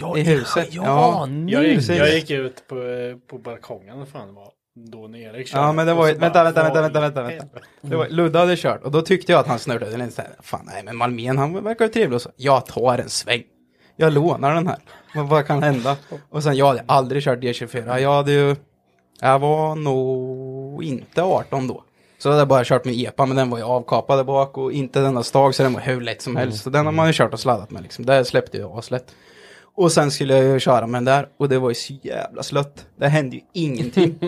Ja,
I huset,
Ja,
ja.
nu!
Jag gick,
Precis.
jag gick ut på, eh, på balkongen, vad fan det var. Då när Erik körde.
Ja, men det
Och
var
så
ju, vänta,
bara,
vänta,
vad
vänta, vänta,
i
vänta, vänta.
helvete?
Det var, Ludde hade kört och då tyckte jag att han snurrade lite såhär, fan nej men Malmén han verkar ju trevlig och så, jag tar en sväng. Jag lånar den här, vad, vad kan hända? Och sen jag hade aldrig kört D24, jag hade ju, jag var nog inte 18 då. Så jag hade bara kört min EPA, men den var ju avkapad där bak och inte den där stag, så den var hur lätt som helst. Så den har man ju kört och sladdat med liksom, där släppte jag aslätt. Och sen skulle jag ju köra med den där och det var ju så jävla slött. Det hände ju ingenting.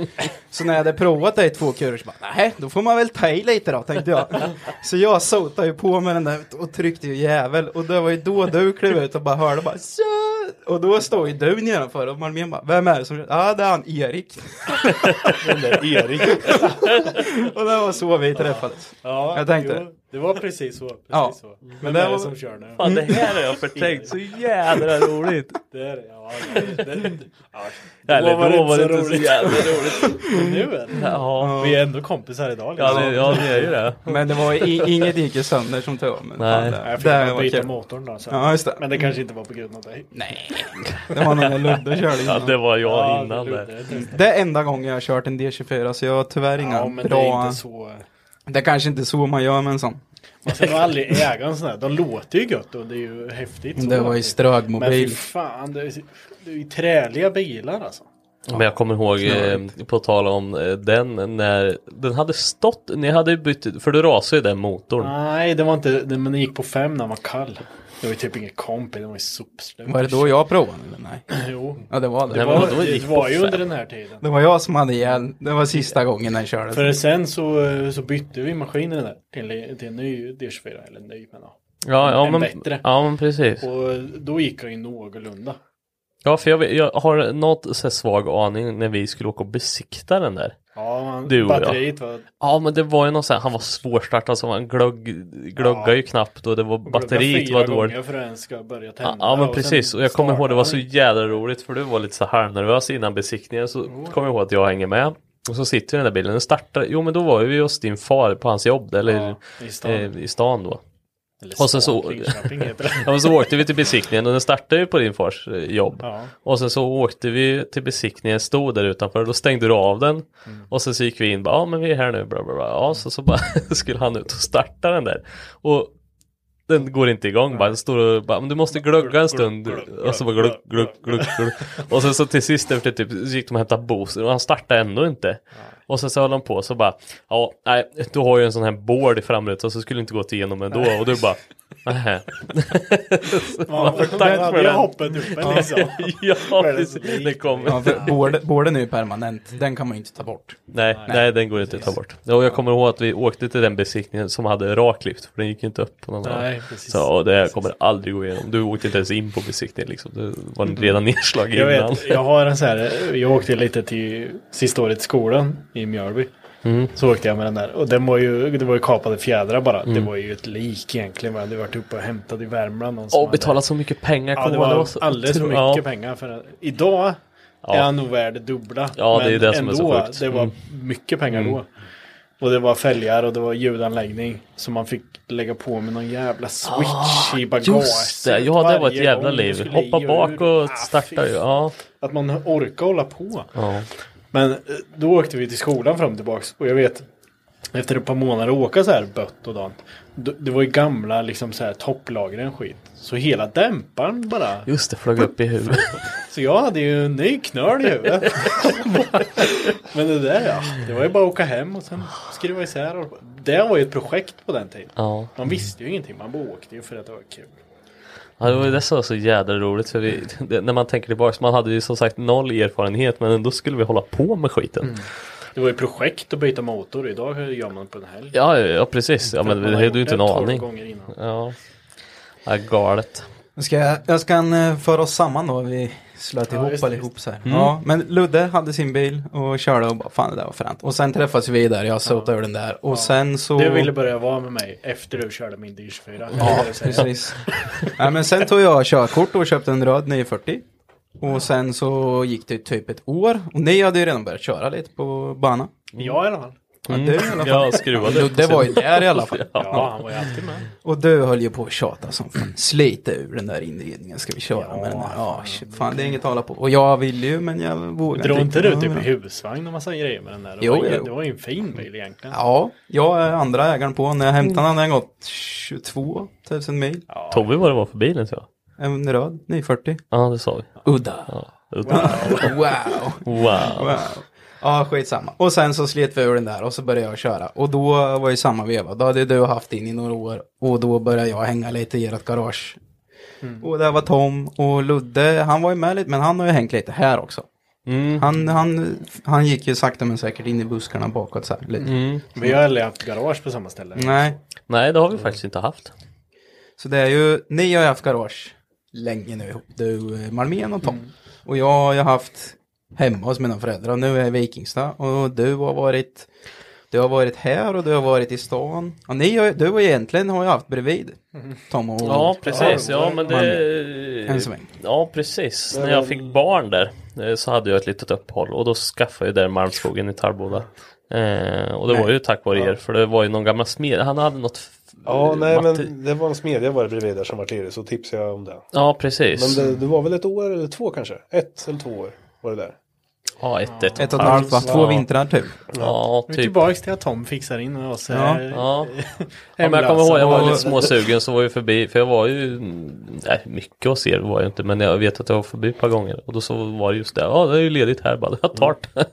så när jag hade provat det i två kurer så bara, nej, då får man väl ta i lite då, tänkte jag. så jag sotade ju på med den där och tryckte ju jävel. Och det var ju då du klev ut och bara hörde bara, så. Och då står ju du nedanför och Malmén bara, vem är det som Ja, ah, det är han Erik.
Den där Erik.
och det var så vi träffades.
Ja,
Jag tänkte.
Jo, det var precis så. Precis
Ja. Mm.
så. Men
det
det är
var-
det som kör nu?
Fan, det här har jag förträngt. Så jädra roligt!
Det är det, ja. Det, det, ja.
Eller, då var det
så
inte så jävla roligt.
Men nu är det.
Ja,
Vi är ändå kompisar idag. Liksom.
ja, det, ja, det är ju det.
Men det var ju i- inget gick ju sönder som tur var. men
Nej.
fan,
Jag
det-
fick
Det var
byta
kul.
motorn då. Så.
Ja, just det.
Men det kanske inte var på grund av dig.
Nej, det var när Ludde körde
Ja,
innan.
det var jag
Ja,
innan
det.
det.
lugnt, det är det.
Det är enda gången jag har kört en D24 så jag har tyvärr inga
Ja, men
bra...
det är inte så.
Det är kanske inte så man gör med en sån.
Man ska nog aldrig äga en sån här. De låter ju gött och det är ju häftigt. så.
Det var ju
Men fy
strögmobil.
fan, det är, det är ju träliga bilar alltså.
Men jag kommer ihåg, eh, på tal om eh, den, när den hade stått, ni hade ju bytt, för du rasade ju den motorn.
Nej, det var inte, det, men det gick på fem när den var kall. Det var ju typ ingen kompis, det var ju sopslut.
Var det då jag provade eller nej?
Jo.
Ja det var det.
Det
Nej, men
var,
vadå, det
det
gick
var
på
ju
fem?
under den här tiden.
Det var jag som hade igen. Det var sista gången den kördes.
För sen så, eh, så bytte vi maskinen där till, till en ny D24, eller ny men ja.
Ja, ja,
En
men,
bättre.
ja men precis.
Och då gick jag ju någorlunda.
Ja för jag, vet- jag har något så här svag aning när vi skulle åka och besikta den där.
Ja, man,
Du och jag.
batteriet var
Ja men det var ju någon sån här, han var svårstartad så han glögg, glöggade
Ja.
ju knappt och det var
glömda
batteriet
fyra
var dåligt.
gånger för att den ska börja
Ja,
tända.
ja men
sen
precis och jag kommer ihåg det var så
startar
jävla roligt för du var lite så halvnervös innan besiktningen så
Mm.
kommer jag ihåg att jag hänger med. Och så sitter vi i den där bilen, den startar, jo men då var vi hos din far på hans jobb där, eller
den. Ja, i stan.
eh, i stan då.
Eller
och sen så-
stan, Linköping heter
Ja
det.
men så åkte vi till besiktningen och den startade ju på din fars eh, jobb.
Ja.
Och sen så åkte vi till besiktningen, stod där utanför, då stängde du av den.
Mm.
Och sen så gick vi in, bara, ja men vi är här nu, bla bla bla. Ja, så, så bara skulle han ut och starta den där. Och den går inte igång bara, den står och bara, men du måste glugga en stund. Och så bara glugg, glugg, glugg, glugg. Och sen så till sist efter typ, så gick de och hämtade booster och han startade ändå inte. Och sen så höll han på så bara, ja, nej, du har ju en sån här board i framrutan så skulle det inte gått igenom ändå. Och du bara, nähä.
Man,
Tack för
Jag
den.
hoppade uppe liksom.
ja,
Eller så
precis. det kommer.
Ja, för båden- båden är ju permanent. Den kan man ju inte ta bort.
Nej, nej, den går inte att ta bort. Ja, Och jag kommer ihåg att vi åkte till den besiktningen som hade raklyft, för den gick ju inte upp på någon
Nej,
annan.
precis.
Så ja, det här kommer aldrig gå igenom. Du åkte inte ens in på besiktningen liksom. Du var redan nedslagen
Mm. Jag
innan.
vet, jag har en så här, jag åkte lite till sista året i skolan i Mjölby.
Mm.
Så åkte jag med den där och den var ju, det var ju kapade fjädrar bara.
Mm.
Det var ju ett lik egentligen. va? Det varit uppe och hämtat i Värmland. någon som
Och
hade-
betalat så mycket pengar.
Ja,
kommer
det
jag ihåg.
var
så
alldeles för
otro-
mycket
ja.
pengar. För den. Idag är
Ja.
han nog värd dubbla.
Ja, det är det som är
ändå,
så sjukt.
det var
Mm.
mycket pengar då. Och det var fälgar och det var ljudanläggning som man fick lägga på med någon jävla switch i bagaget.
Ah, Just det, ja det var ett
Varje
jävla
gång du
liv.
skulle
Hoppa
i
bak
ur.
och
Ah,
starta
fy
ju. Ja,
att man orkar hålla på.
ja.
Men eh, då åkte vi till skolan fram och tillbaks och jag vet efter ett par månader att åka så här bött och dant. d- Det var ju gamla liksom så här topplagren skit. Så hela dämparen bara.
Just det, flög upp i huvudet.
Så jag hade ju en ny knöl i huvudet. Men det där ja, det var ju bara att åka hem och sen skruva isär. Och... Det var ju ett projekt på den tiden.
Ja.
Man visste ju ingenting, man bara åkte ju för att det var kul.
Ja, det var ju det som var så jädra roligt för vi, det, när man tänker tillbaks, man hade ju som sagt noll erfarenhet men ändå skulle vi hålla på med skiten.
Mm. Det var ju projekt att byta motor, idag gör man på en helg.
Ja, ja, ja precis, ja, men
Man har
det hade
gjort
du inte en
det tolv
aning.
gånger innan.
Ja. ja, galet.
Jag ska, jag ska eh, föra oss samman då. Vi slöt
Ja,
ihop
just det,
allihop så här.
Mm.
Ja, men Ludde hade sin bil och körde och bara fan det där var fränt. Och sen träffades vi där. Jag sotade ur den där. Och sen så...
Du ville börja vara med mig efter du körde min D24.
Ja, precis. Nej, men sen tog jag körkort och köpte en röd 940. Och sen så gick det typ ett år. Och ni hade ju redan börjat köra lite på bana.
Jag i alla fall.
Ja, du i alla fall.
Jag skruvade.
Ludde var ju där i alla fall.
Ja, han var ju alltid med.
Och du höll ju på att tjata som fan. Slita ur den där inredningen ska vi köra med den där. Ja, shit, fan det är inget att hålla på. Och jag ville ju men jag vågade
Drog inte du typ
Ja,
i husvagn och massa grejer med den där? Det
Jo,
var ju-
jo.
Det var ju en fin bil egentligen.
Ja, jag är andra ägaren på. När jag hämtade den hade den gått 22 000 mil.
Tog vi vad det var för bilen så?
En röd 940.
Ja, det sa vi.
Udda.
Utan-
Wow.
Wow.
Wow. Ja, skitsamma. Och sen så slet vi ur den där och så började jag köra. Och då var ju samma veva. Då hade du haft in i några år och då började jag hänga lite i ert garage. Och där var Tom och Ludde, han var ju med lite, men han har ju hängt lite här också. Han, han, han gick ju sakta men säkert in i buskarna bakåt så här lite.
Vi har aldrig haft garage på samma ställe.
Nej,
Nej, det har vi faktiskt inte haft.
så det är ju, ni har ju haft garage länge nu ihop, du eh, Malmén och Tom. Och jag har ju haft hemma hos mina föräldrar och nu är jag i Vikingstad och du har varit, du har varit här och du har varit i stan. Och ni har, ju- du har ju egentligen har ju haft bredvid Tom och
Ja, precis. Ja, men det...
En sväng.
Ja, precis. När jag fick barn där eh, så hade jag ett litet uppehåll och då skaffade jag där Malmskogen i Tarboda. Eh, och det var ju tack vare er, för det var ju någon gammal smed, han hade något... f-
Ja, nej
Eh, matte-
men det var en smedja var det bredvid där som var lirig så tipsade jag om det.
Ja, precis.
Men det, det var väl ett år eller två kanske? Ett eller två år var det där.
Ja, ett, ett,
Ett och ett halvt, va? Två vintrar typ.
Ja,
Vi är
typ.
tillbaka till att Tom fixar in oss.
Ja,
eh,
Ja. Ja, men jag kommer
hemlösa.
ihåg, jag var
Och-
lite småsugen så var jag förbi, för jag var ju, mm, nej mycket hos er var jag inte, men jag vet att jag var förbi ett par gånger och då så var det just det, ja det är ju ledigt här, bara jag tar det.
Mm.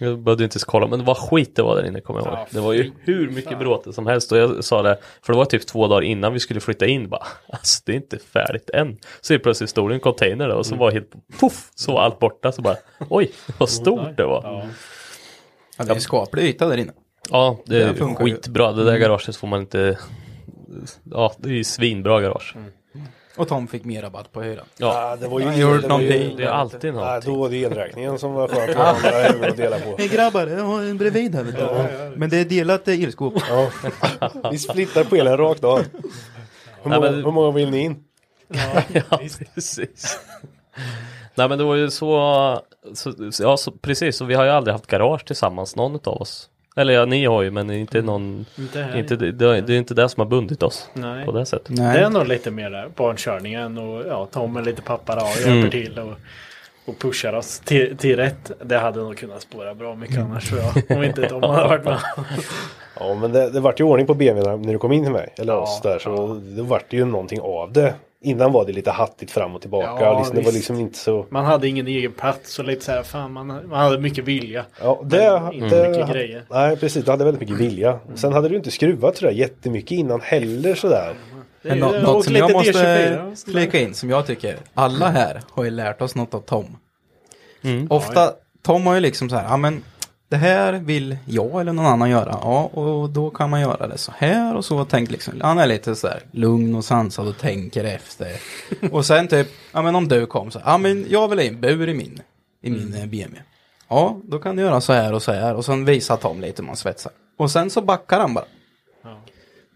Jag behövde inte ens kolla, men vad skit det var där inne kommer jag ihåg.
Ja,
Det var ju hur mycket bråte som helst och jag sa det, för det var typ två dagar innan vi skulle flytta in bara, alltså det är inte färdigt än. Så helt plötsligt stod det en container där och
Mm.
så var helt, poff, så var allt borta, så bara, oj, vad stort det var.
Ja, det är en skaplig yta där inne.
Ja, det
Det
är
funkar ju.
skitbra. Det där garaget får man inte... Ja, det är ju svinbra garage.
Och Tom fick mer rabatt på hyran.
Ja,
Ja, det var ju...
Han gjorde
det var ju-
någonting.
det är alltid
Ja,
någonting.
då var det elräkningen som var skönt att ha andra att dela på.
Hej grabbar, jag har en bredvid här vet du. Men det är delat eh, elskåp.
Ja. Vi splittar på elen rakt av. Hur
Nej,
många,
men-
hur många vill ni in?
Ja, precis. Nej, men det var ju så... så så- ja, så, precis. Så vi har ju aldrig haft garage tillsammans, någon av oss. Eller ja, ni har ju, men inte någon...
Inte här.
Inte, det, det är inte det som har bundit oss
Nej.
på det sättet.
Det är
Nej.
nog lite mer där, barnkörningen och ja, Tom är lite pappa och
Mm.
hjälper till och, och pushar oss till, till rätt. Det hade nog kunnat spåra bra mycket
Mm.
annars tror jag. Om inte Tom hade varit med.
Ja, men det, det vart ju ordning på BMWn när du kom in till mig, eller oss där, så det vart ju någonting av det. Innan var det lite hattigt fram och tillbaka,
Ja,
och liksom, det var
visst.
liksom inte så...
Man hade ingen egen plats och lite så här, fan man, man hade mycket vilja.
Ja, det,
Men inte
det,
mycket grejer.
Nej, precis, du hade väldigt mycket vilja. Sen hade du inte skruvat sådär jättemycket innan heller sådär.
Men nå-
Det är-
något
Eh, och
som
lite
jag måste
D24,
flika in som jag tycker. Alla här har ju lärt oss något av Tom.
Mm.
Ofta, Tom har ju liksom så här, ja men det här vill jag eller någon annan göra. Ja, och då kan man göra det så här och så. Tänk liksom, han är lite så här lugn och sansad och tänker efter. och sen typ, ja men om du kom så här, ja men jag vill ha en bur i min, i
Mm.
min eh, BMW. Ja, då kan du göra så här och så här och sen visar Tom lite hur man svetsar. Och sen så backar han bara.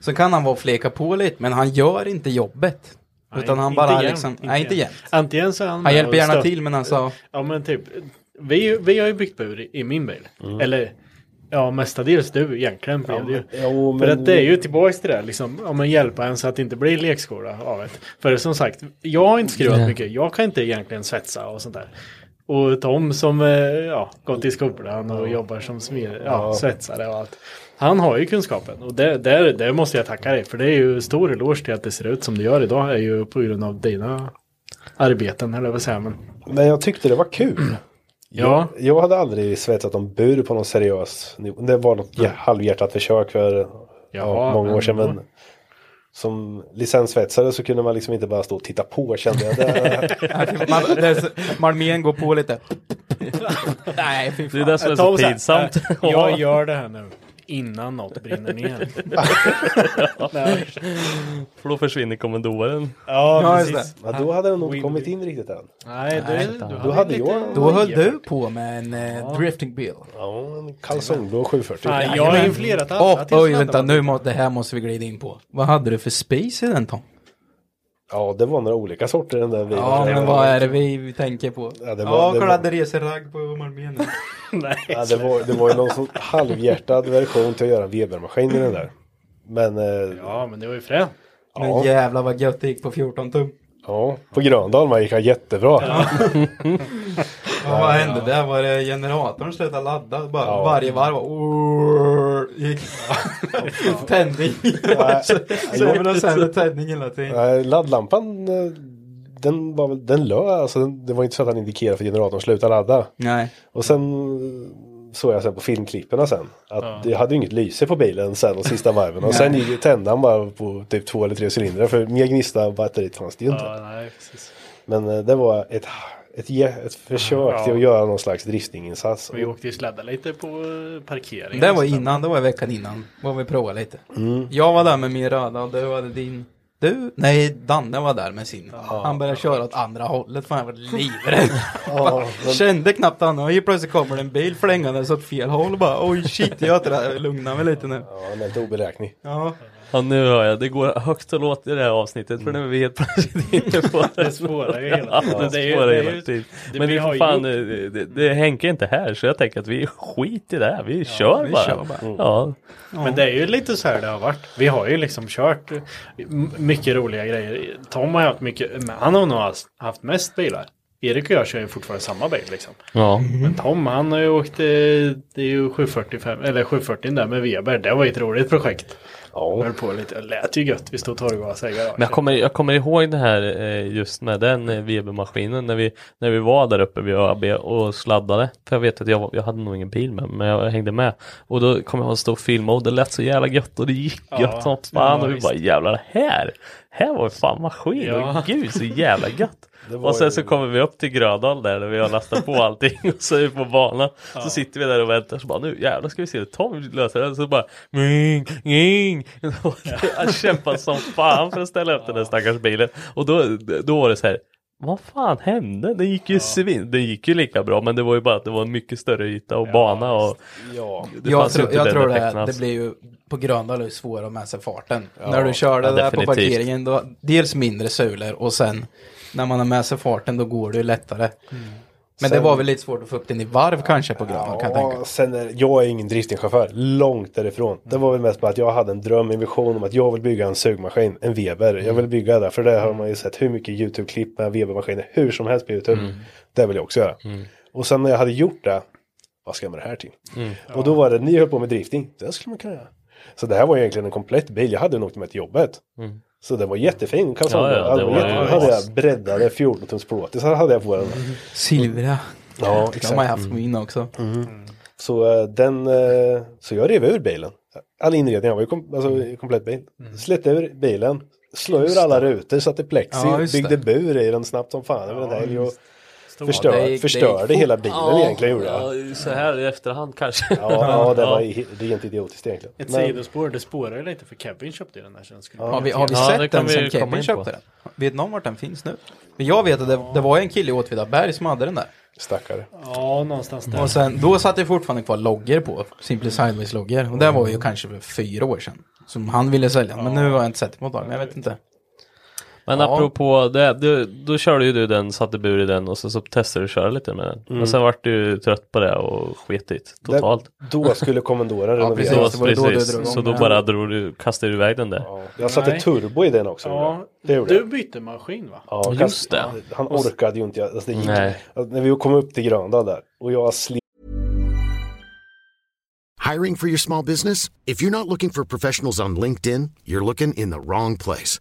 Så kan han vara och fleka på lite, men han gör inte jobbet.
Nej,
utan han
inte
bara
jämt,
liksom, nej inte jämt.
Antingen så är han
Han
med
hjälper
och
gärna
stöttar-
till, men alltså,
Ja men typ, vi, vi har ju byggt bur i, i min bil.
Mm.
Eller ja, mestadels du egentligen blev det ju.
Jo,
För
men-
att det är ju tillbaks till det där, liksom, om man hjälper en så att det inte blir lekskola av det. För som sagt, jag har inte skruvat mycket, jag kan inte egentligen svetsa och sånt där. Och Tom som eh, ja, gått i skolan och jobbar som smed, ja, svetsare och allt. Han har ju kunskapen och det, det, det måste jag tacka dig för det är ju stor eloge till att det ser ut som det gör idag är ju på grund av dina arbeten eller vad säger man?
Men jag tyckte det var kul.
Ja,
Jag hade aldrig svetsat om bur på någon seriös nivå. Det var något ja, halvhjärtat försök för ja,
Jaha,
många år
men
sedan. Men
då.
som licenssvetsare så kunde man liksom inte bara stå och titta på kände jag. Det,
man, det är så- Malmén går på lite. nej, fy
Det är
fan.
det som är så
Tom så här,
pinsamt.
"Äh, Jag gör det här nu. Innan något brinner ner. Nej.
För då försvinner kommendoren.
Ja,
Ja, just
precis.
ja, då hade den nog
Win-win.
inte kommit in riktigt än.
Nej, du, du
Då hade jag
Då höll du på med en eh, drifting bill.
ja, en kalsongblå 740.
Nej, jag har inflerat alla
Åh,
tills
oj,
detta
vänta,
var-
nu må, det här måste vi glida in på. Vad hade du för space i den Tom?
Ja, det var några olika sorter den där bilen.
Ja,
Det
men
var-
vad är det vi, vi tänker på?
Ja, det var-
Ja,
det
kolla,
var-
det reser ragg på Malmén. nu.
Ja, det, var, det var ju någon sån halvhjärtad version till att göra en Webermaskin i den där. Men eh, ja.
Ja, men det var ju fränt.
Men jävlar vad gött det gick på 14 tum.
på Gröndal man gick han jättebra.
Ja, vad hände där? Var det generatorn slutade ladda? Bara,
Ja.
Varje varv bara... "Oor", Gick... Tändning. Sämre och sämre tändning hela tiden.
Nej, laddlampan eh, den var väl, den lö, alltså den, det var inte så att han indikerade för generatorn sluta ladda.
Nej.
Och sen eh, såg jag sen på filmklipperna sen att det hade ju inget lyse på bilen sen de sista varven och sen gick- tände han bara på typ två eller tre cylindrar för mer gnista av batteriet fanns det ju inte.
Ja, nej, precis. Men
Men eh, det var ett, ett, jä- ett försök till att göra någon slags driftinginsats.
Vi åkte ju slädda lite på eh, parkeringen.
Det var innan, det var veckan innan. Var vi provade lite. Jag var där med min röda och du hade din. Du? Nej, Danne var där med sin. Han började köra åt andra hållet. Fan, jag var livrädd. Kände knappt Danne. Och helt plötsligt kommer det en bil flängandes åt fel håll. Bara, oj shit, jag tror- lugna mig lite nu.
Ja, han är lite oberäknig.
Ja.
Ja, nu hör jag. Det går högt och lågt i det här avsnittet för nu är vi helt plötsligt inne på
Det spårar ju hela tiden.
Ja,
Det är ju-
spårar
det är ju-
hela tiden.
det-
Men
vi
det är
har
för
ju
fan,
gjort-
eh, det, det, Henke är inte här så jag tänker att vi skit i det. här. Vi kör
vi
bara. Mm.
kör bara.
Ja.
Men det är ju lite så här det har varit. Vi har ju liksom kört eh, m- mycket roliga grejer. Tom har ju haft mycket, men han har nog haft mest bilar. Erik och jag kör ju fortfarande samma bil liksom.
Ja.
Men Tom han har ju åkt, eh, det är ju 745, eller 740 där med Weber. Det var ju ett roligt projekt.
Ja.
Jag höll på lite, det lät ju gött. Vi stod och torrgasade i garaget.
Men jag kommer, jag kommer ihåg det här eh, just med den eh, Weber-maskinen när vi, när vi var där uppe vid ÖAB och sladdade. För jag vet att jag, var- jag hade nog ingen bil med men jag hängde med. Och då kom jag ihåg en stor film och det lät så jävla gött och det gick
Ja,
gött som fan.
ja,
och vi
visst.
bara jävlar här, här var ju fan maskin
Ja.
och gud så jävla gött.
Det var
Och sen
ju-
så kommer vi upp till Grödal där, där vi har lastat på allting och så är vi på banan. Så sitter vi där och väntar så bara nu jävlar ska vi se det Tom löser den. Så bara ming, ming. Han kämpar som fan för att ställa upp den där stackars bilen. Och då, då var det så här vad fan hände? Det gick ju svin. Det gick ju lika bra men det var ju bara att det var en mycket större yta och bana och
Ja.
det
jag
fanns ju
tror,
inte
jag
den
tror det,
effekten
det
alls.
blir ju på Gröndal är det svårare att ha med sig farten. När du kör det
Ja,
där på
definitivt.
parkeringen, då, dels mindre sulor och sen när man har med sig farten då går det ju lättare.
Mm.
Men det
Sen-
var väl lite svårt att få upp den i varv kanske på Gröndal kan jag tänka.
Ja, sen är, jag är ingen driftingchaufför, långt därifrån. Det var väl mest bara att jag hade en dröm, en vision om att jag vill bygga en sugmaskin, en Weber. Jag vill bygga det, för det har man ju sett hur mycket YouTube-klipp med Weber-maskiner, hur som helst på YouTube.
Mm.
Det vill jag också göra. Och sen när jag hade gjort det, vad ska jag med det här till?
Mm.
Och då var det, ni höll på med drifting, det skulle man kunna göra. Så det här var ju egentligen en komplett bil, jag hade den åkt med till jobbet. Så den var jättefin, Cassandra.
Mm. Ja, ja, det
Den
var ju- Mm.
jättefin. Alltså, hade jag breddade 14-tums plåtisar hade jag på den.
Silvra,
Ja,
det har man ju haft på min också.
Mm.
så, eh, den, eh, så jag rev ur bilen. All inredning, jag var ju kom, alltså, i komplett bil. Slet ur bilen, slog ur alla rutor, satte plexi,
Ja, just
byggde
det.
bur i den snabbt som fan över en helg och förstör,
Ja, det gick- det
förstörde
gick fort.
hela bilen egentligen gjorde jag.
Ja, så här i efterhand kanske.
Ja, ja, det var i- rent idiotiskt egentligen.
Ett
Men-
sidospår, det spårar ju lite för Kevin köpte ju den där sen skulle
Har vi, har vi
Ja, det
sett
kan
den
vi
sen
ju komma
Kevin
in på.
köpte den? Vet någon vart den finns nu? Men jag vet att det, det var en kille i Åtvidaberg som hade den där.
Stackare.
Ja, någonstans där.
Och sen, då satt det fortfarande kvar loggor på, Simply Sideways loggor. Och det var ju kanske för fyra år sedan. Som han ville sälja, men nu har jag inte sett det på ett tag, men jag vet inte.
Men
Ja.
apropå det, du, då körde ju du den, satte bur i den och så, så testade du att köra lite med den. Men sen vart du trött på det och sket i det totalt.
Då skulle kommendoren
precis.
renoveras.
så,
det var ju då du
precis,
drog igång
så då
den.
bara drog du, kastade du iväg den där.
Ja, jag satte
Nej.
turbo i den också. gjorde
ja,
jag. Det gjorde
du
jag.
bytte maskin va?
Ja, kast-
Just det.
Han orkade ju inte. Alltså, det gick.
Nej.
Alltså, när vi kom upp till Gröndal där och jag slet
Hiring for your small business? If you're not looking for professionals on LinkedIn, you're looking in the wrong place.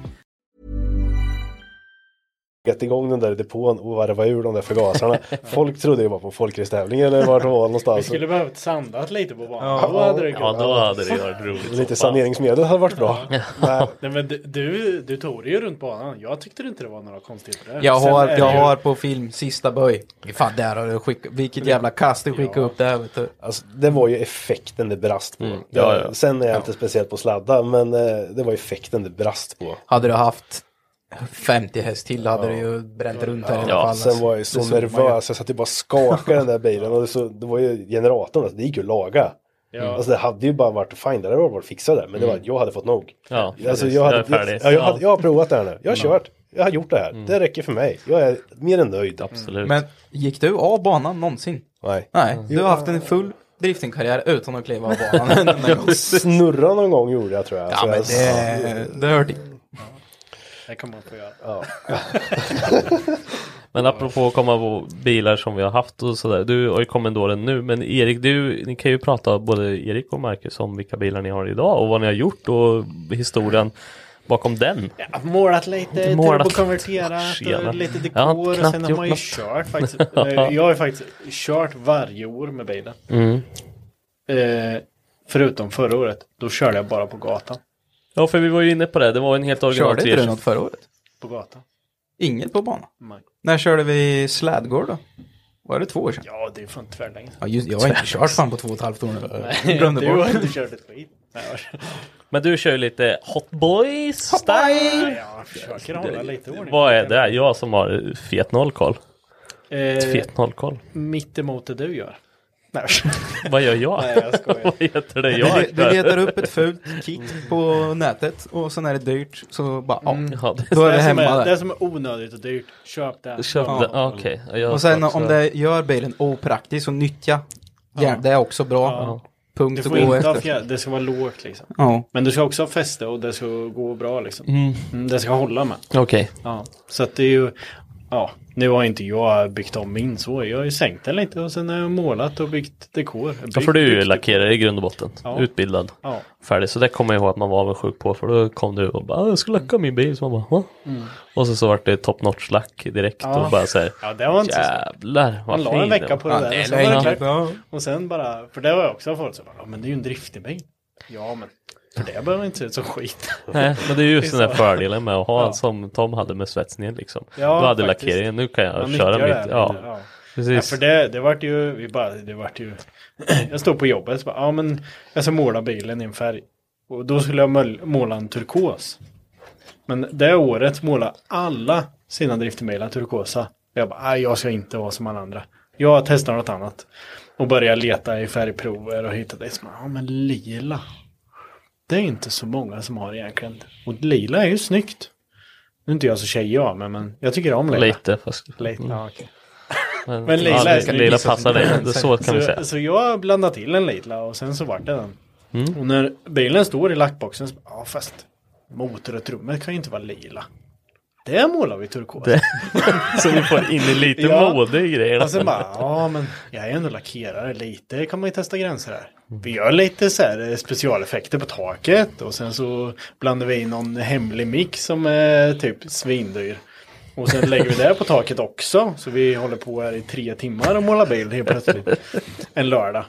gett igång den där depån och varva ur de där förgasarna. Folk trodde det var på en folkracetävling eller vart det var
Vi
någonstans.
skulle behövt sandat lite på banan.
Ja.
Då hade det
Ja,
kunnat.
då hade det ju varit roligt. som
Lite
fan.
saneringsmedel hade varit bra. Nej,
Nej, men du, du, du tog det ju runt banan. Jag tyckte inte det var några konstigheter där.
Jag
Sen
har,
är det
jag
ju-
har på film, sista böj. Fan, där har du skickat, vilket jävla kast du skickade upp där vet du.
alltså, det var ju effekten det brast på.
Mm.
Eh,
Ja, ja.
Sen är jag inte speciellt på att sladda men eh, det var effekten det brast på.
Hade du haft 50 häst till hade du ju bränt runt här i alla fall.
Ja,
Sen var jag ju
Det
så
såg man ju.
nervös, alltså jag satt ju bara och skakade den där bilen. Och det, så, det var ju generatorn, alltså, det gick ju att laga.
Ja.
Alltså det hade ju bara varit fine, det hade varit fixat där. Men det var, jag hade fått nog.
Ja,
alltså,
precis.
jag, hade,
Jag är färdig.
ja, jag, hade, jag har provat det här nu, jag har kört, jag har gjort det här. Det räcker för mig, jag är mer än nöjd. Mm.
Absolut.
Men gick du av banan någonsin?
Nej.
Nej, du har haft en full driftingkarriär utan att kliva av banan. en gång.
Snurra någon gång gjorde jag tror jag.
ja
Så
men
jag-
det, det hör till.
Det kan man få göra.
Men apropå att komma på bilar som vi har haft och sådär. Du har ju kommendoren nu men Erik du, ni kan ju prata både Erik och Marcus om vilka bilar ni har idag och vad ni har gjort och historien bakom den.
Ja, målat lite,
Målat.
turbokonverterat
Tjena.
och lite dekor.
Jag har
och
knappt
sen har
gjort
man ju
något.
kört faktiskt. Eh, Jag har ju faktiskt kört varje år med bilen. Eh, Förutom förra året, då körde jag bara på gatan.
Ja, för vi var ju inne på det. Det var en helt original
Körde inte du något förra året?
På gatan.
Inget på banan?
Nej.
När körde vi slädgård då? Var det två år sedan?
Ja, det är fan tvärlänge.
Ja, just, jag har inte kört fan på två och ett halvt år nu.
Nej,
Jag glömde
du har
bort.
inte kört ett skit. Nej, jag-
Men du kör ju lite Hot Boys style.
Jag försöker hålla lite ordning.
Vad är det? Jag som har fet noll koll.
Eh,
Fet noll koll.
Mitt emot det du gör. Nej,
Vad gör jag?
Nej, jag skojar.
Vad heter det
Du,
jag
le- du
kör?
letar upp ett fult kit på nätet och sen är det dyrt så bara ja.
Ja, det-
Då är det
som
hemma
är, det
där.
som är onödigt och dyrt, köp det.
Köp det. Ja, Okej. Jag-
Och sen om
så-
det gör bilen opraktisk så nyttja. Ja, det är också bra.
Du
Punkt att
får
gå
inte ha
efter.
fjär, det ska vara lågt liksom.
Ja.
Men du ska också ha fäste och det ska gå bra liksom.
Mm.
Mm, det ska hålla med.
Okej.
Ja, så att det är ju, ja, nu har inte jag byggt om min så. Jag har ju sänkt den lite och sen har jag målat och byggt dekor. Byggt,
Ja, för du är ju
byggt.
lackerare i grund och botten.
Ja.
Utbildad.
Ja.
Färdig. Så det kommer jag ihåg att man var avundsjuk på. För då kom du och bara, "Ah, jag ska lacka min bil. Så man bara, "Va?" Och så, så vart det top notch lack direkt.
Mm. Ja.
Och bara så här,
Ja, det var inte så svårt.
jävlar vad
Man
fin
la en
den
vecka
var."
på det där och sen var det
enkelt,
klart.
ja.
Och sen bara, för det var jag också folk som bara, ja men det är ju en driftig bil. Ja men, för det behöver inte se ut som skit.
Nej, men det är just den där
Så.
fördelen med att ha
Ja.
som Tom hade med svetsningen liksom.
Ja,
du hade
faktiskt.
lackeringen, nu kan jag
Man nyttjar
köra
det här
mitt.
lite,
Ja,
ja. Ja,
precis.
för det, det vart ju, vi bara, det vart ju, jag stod på jobbet så bara, ja men jag ska måla bilen i en färg. Och då skulle jag mål- måla en turkos. Men det året målade alla sina driftingbilar turkosa. Jag bara, nej jag ska inte vara som alla andra. Jag testar något annat. Och började leta i färgprover och hittade det som, ja men lila. Det är inte så många som har egentligen. Och lila är ju snyggt. Nu är inte jag så tjej jag, men, men jag tycker om lila.
Lite fast.
Lite, ja, okej.
Men,
Men lila
ja,
ska
det,
ni
lila
gissa
passar dig, Det- så kan vi säga.
Så, så jag blandade till en Lidla och sen så vart det den.
Mm.
Och när bilen står i lackboxen så ja fast motor och trummet kan ju inte vara lila. Det målar vi turkos.
Det- Så vi får in i lite
Ja.
mode i grejerna.
Och sen bara, ja men jag är ändå lackerare lite, kan man ju testa gränser här. Vi gör lite så här eh, specialeffekter på taket och sen så blandar vi in någon hemlig mix som är typ svindyr. Och sen lägger vi det på taket också, så vi håller på här i tre timmar och målar bil helt plötsligt. En lördag.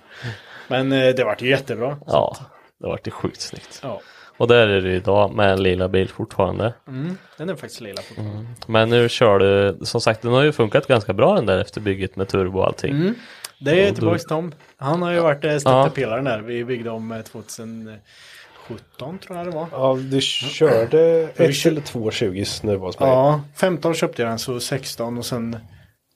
Men eh, det vart ju jättebra.
Ja, det vart ju sjukt snyggt.
Ja,
Och där är du idag med en lila bil fortfarande.
mm, den är faktiskt lila
Mm.
fortfarande.
Men nu kör du, som sagt den har ju funkat ganska bra den där efter bygget med turbo och allting.
Mm. Det
Och
är
då-
tillbaks Tom. Han har ju varit eh,
Ja.
stötta pelaren här. Vi byggde om eh, 2017 tror jag det var.
Ja, du körde
Vi
ett
kör-
eller två 20 när det var hos mig.
Ja, 15 köpte jag den så 16 och sen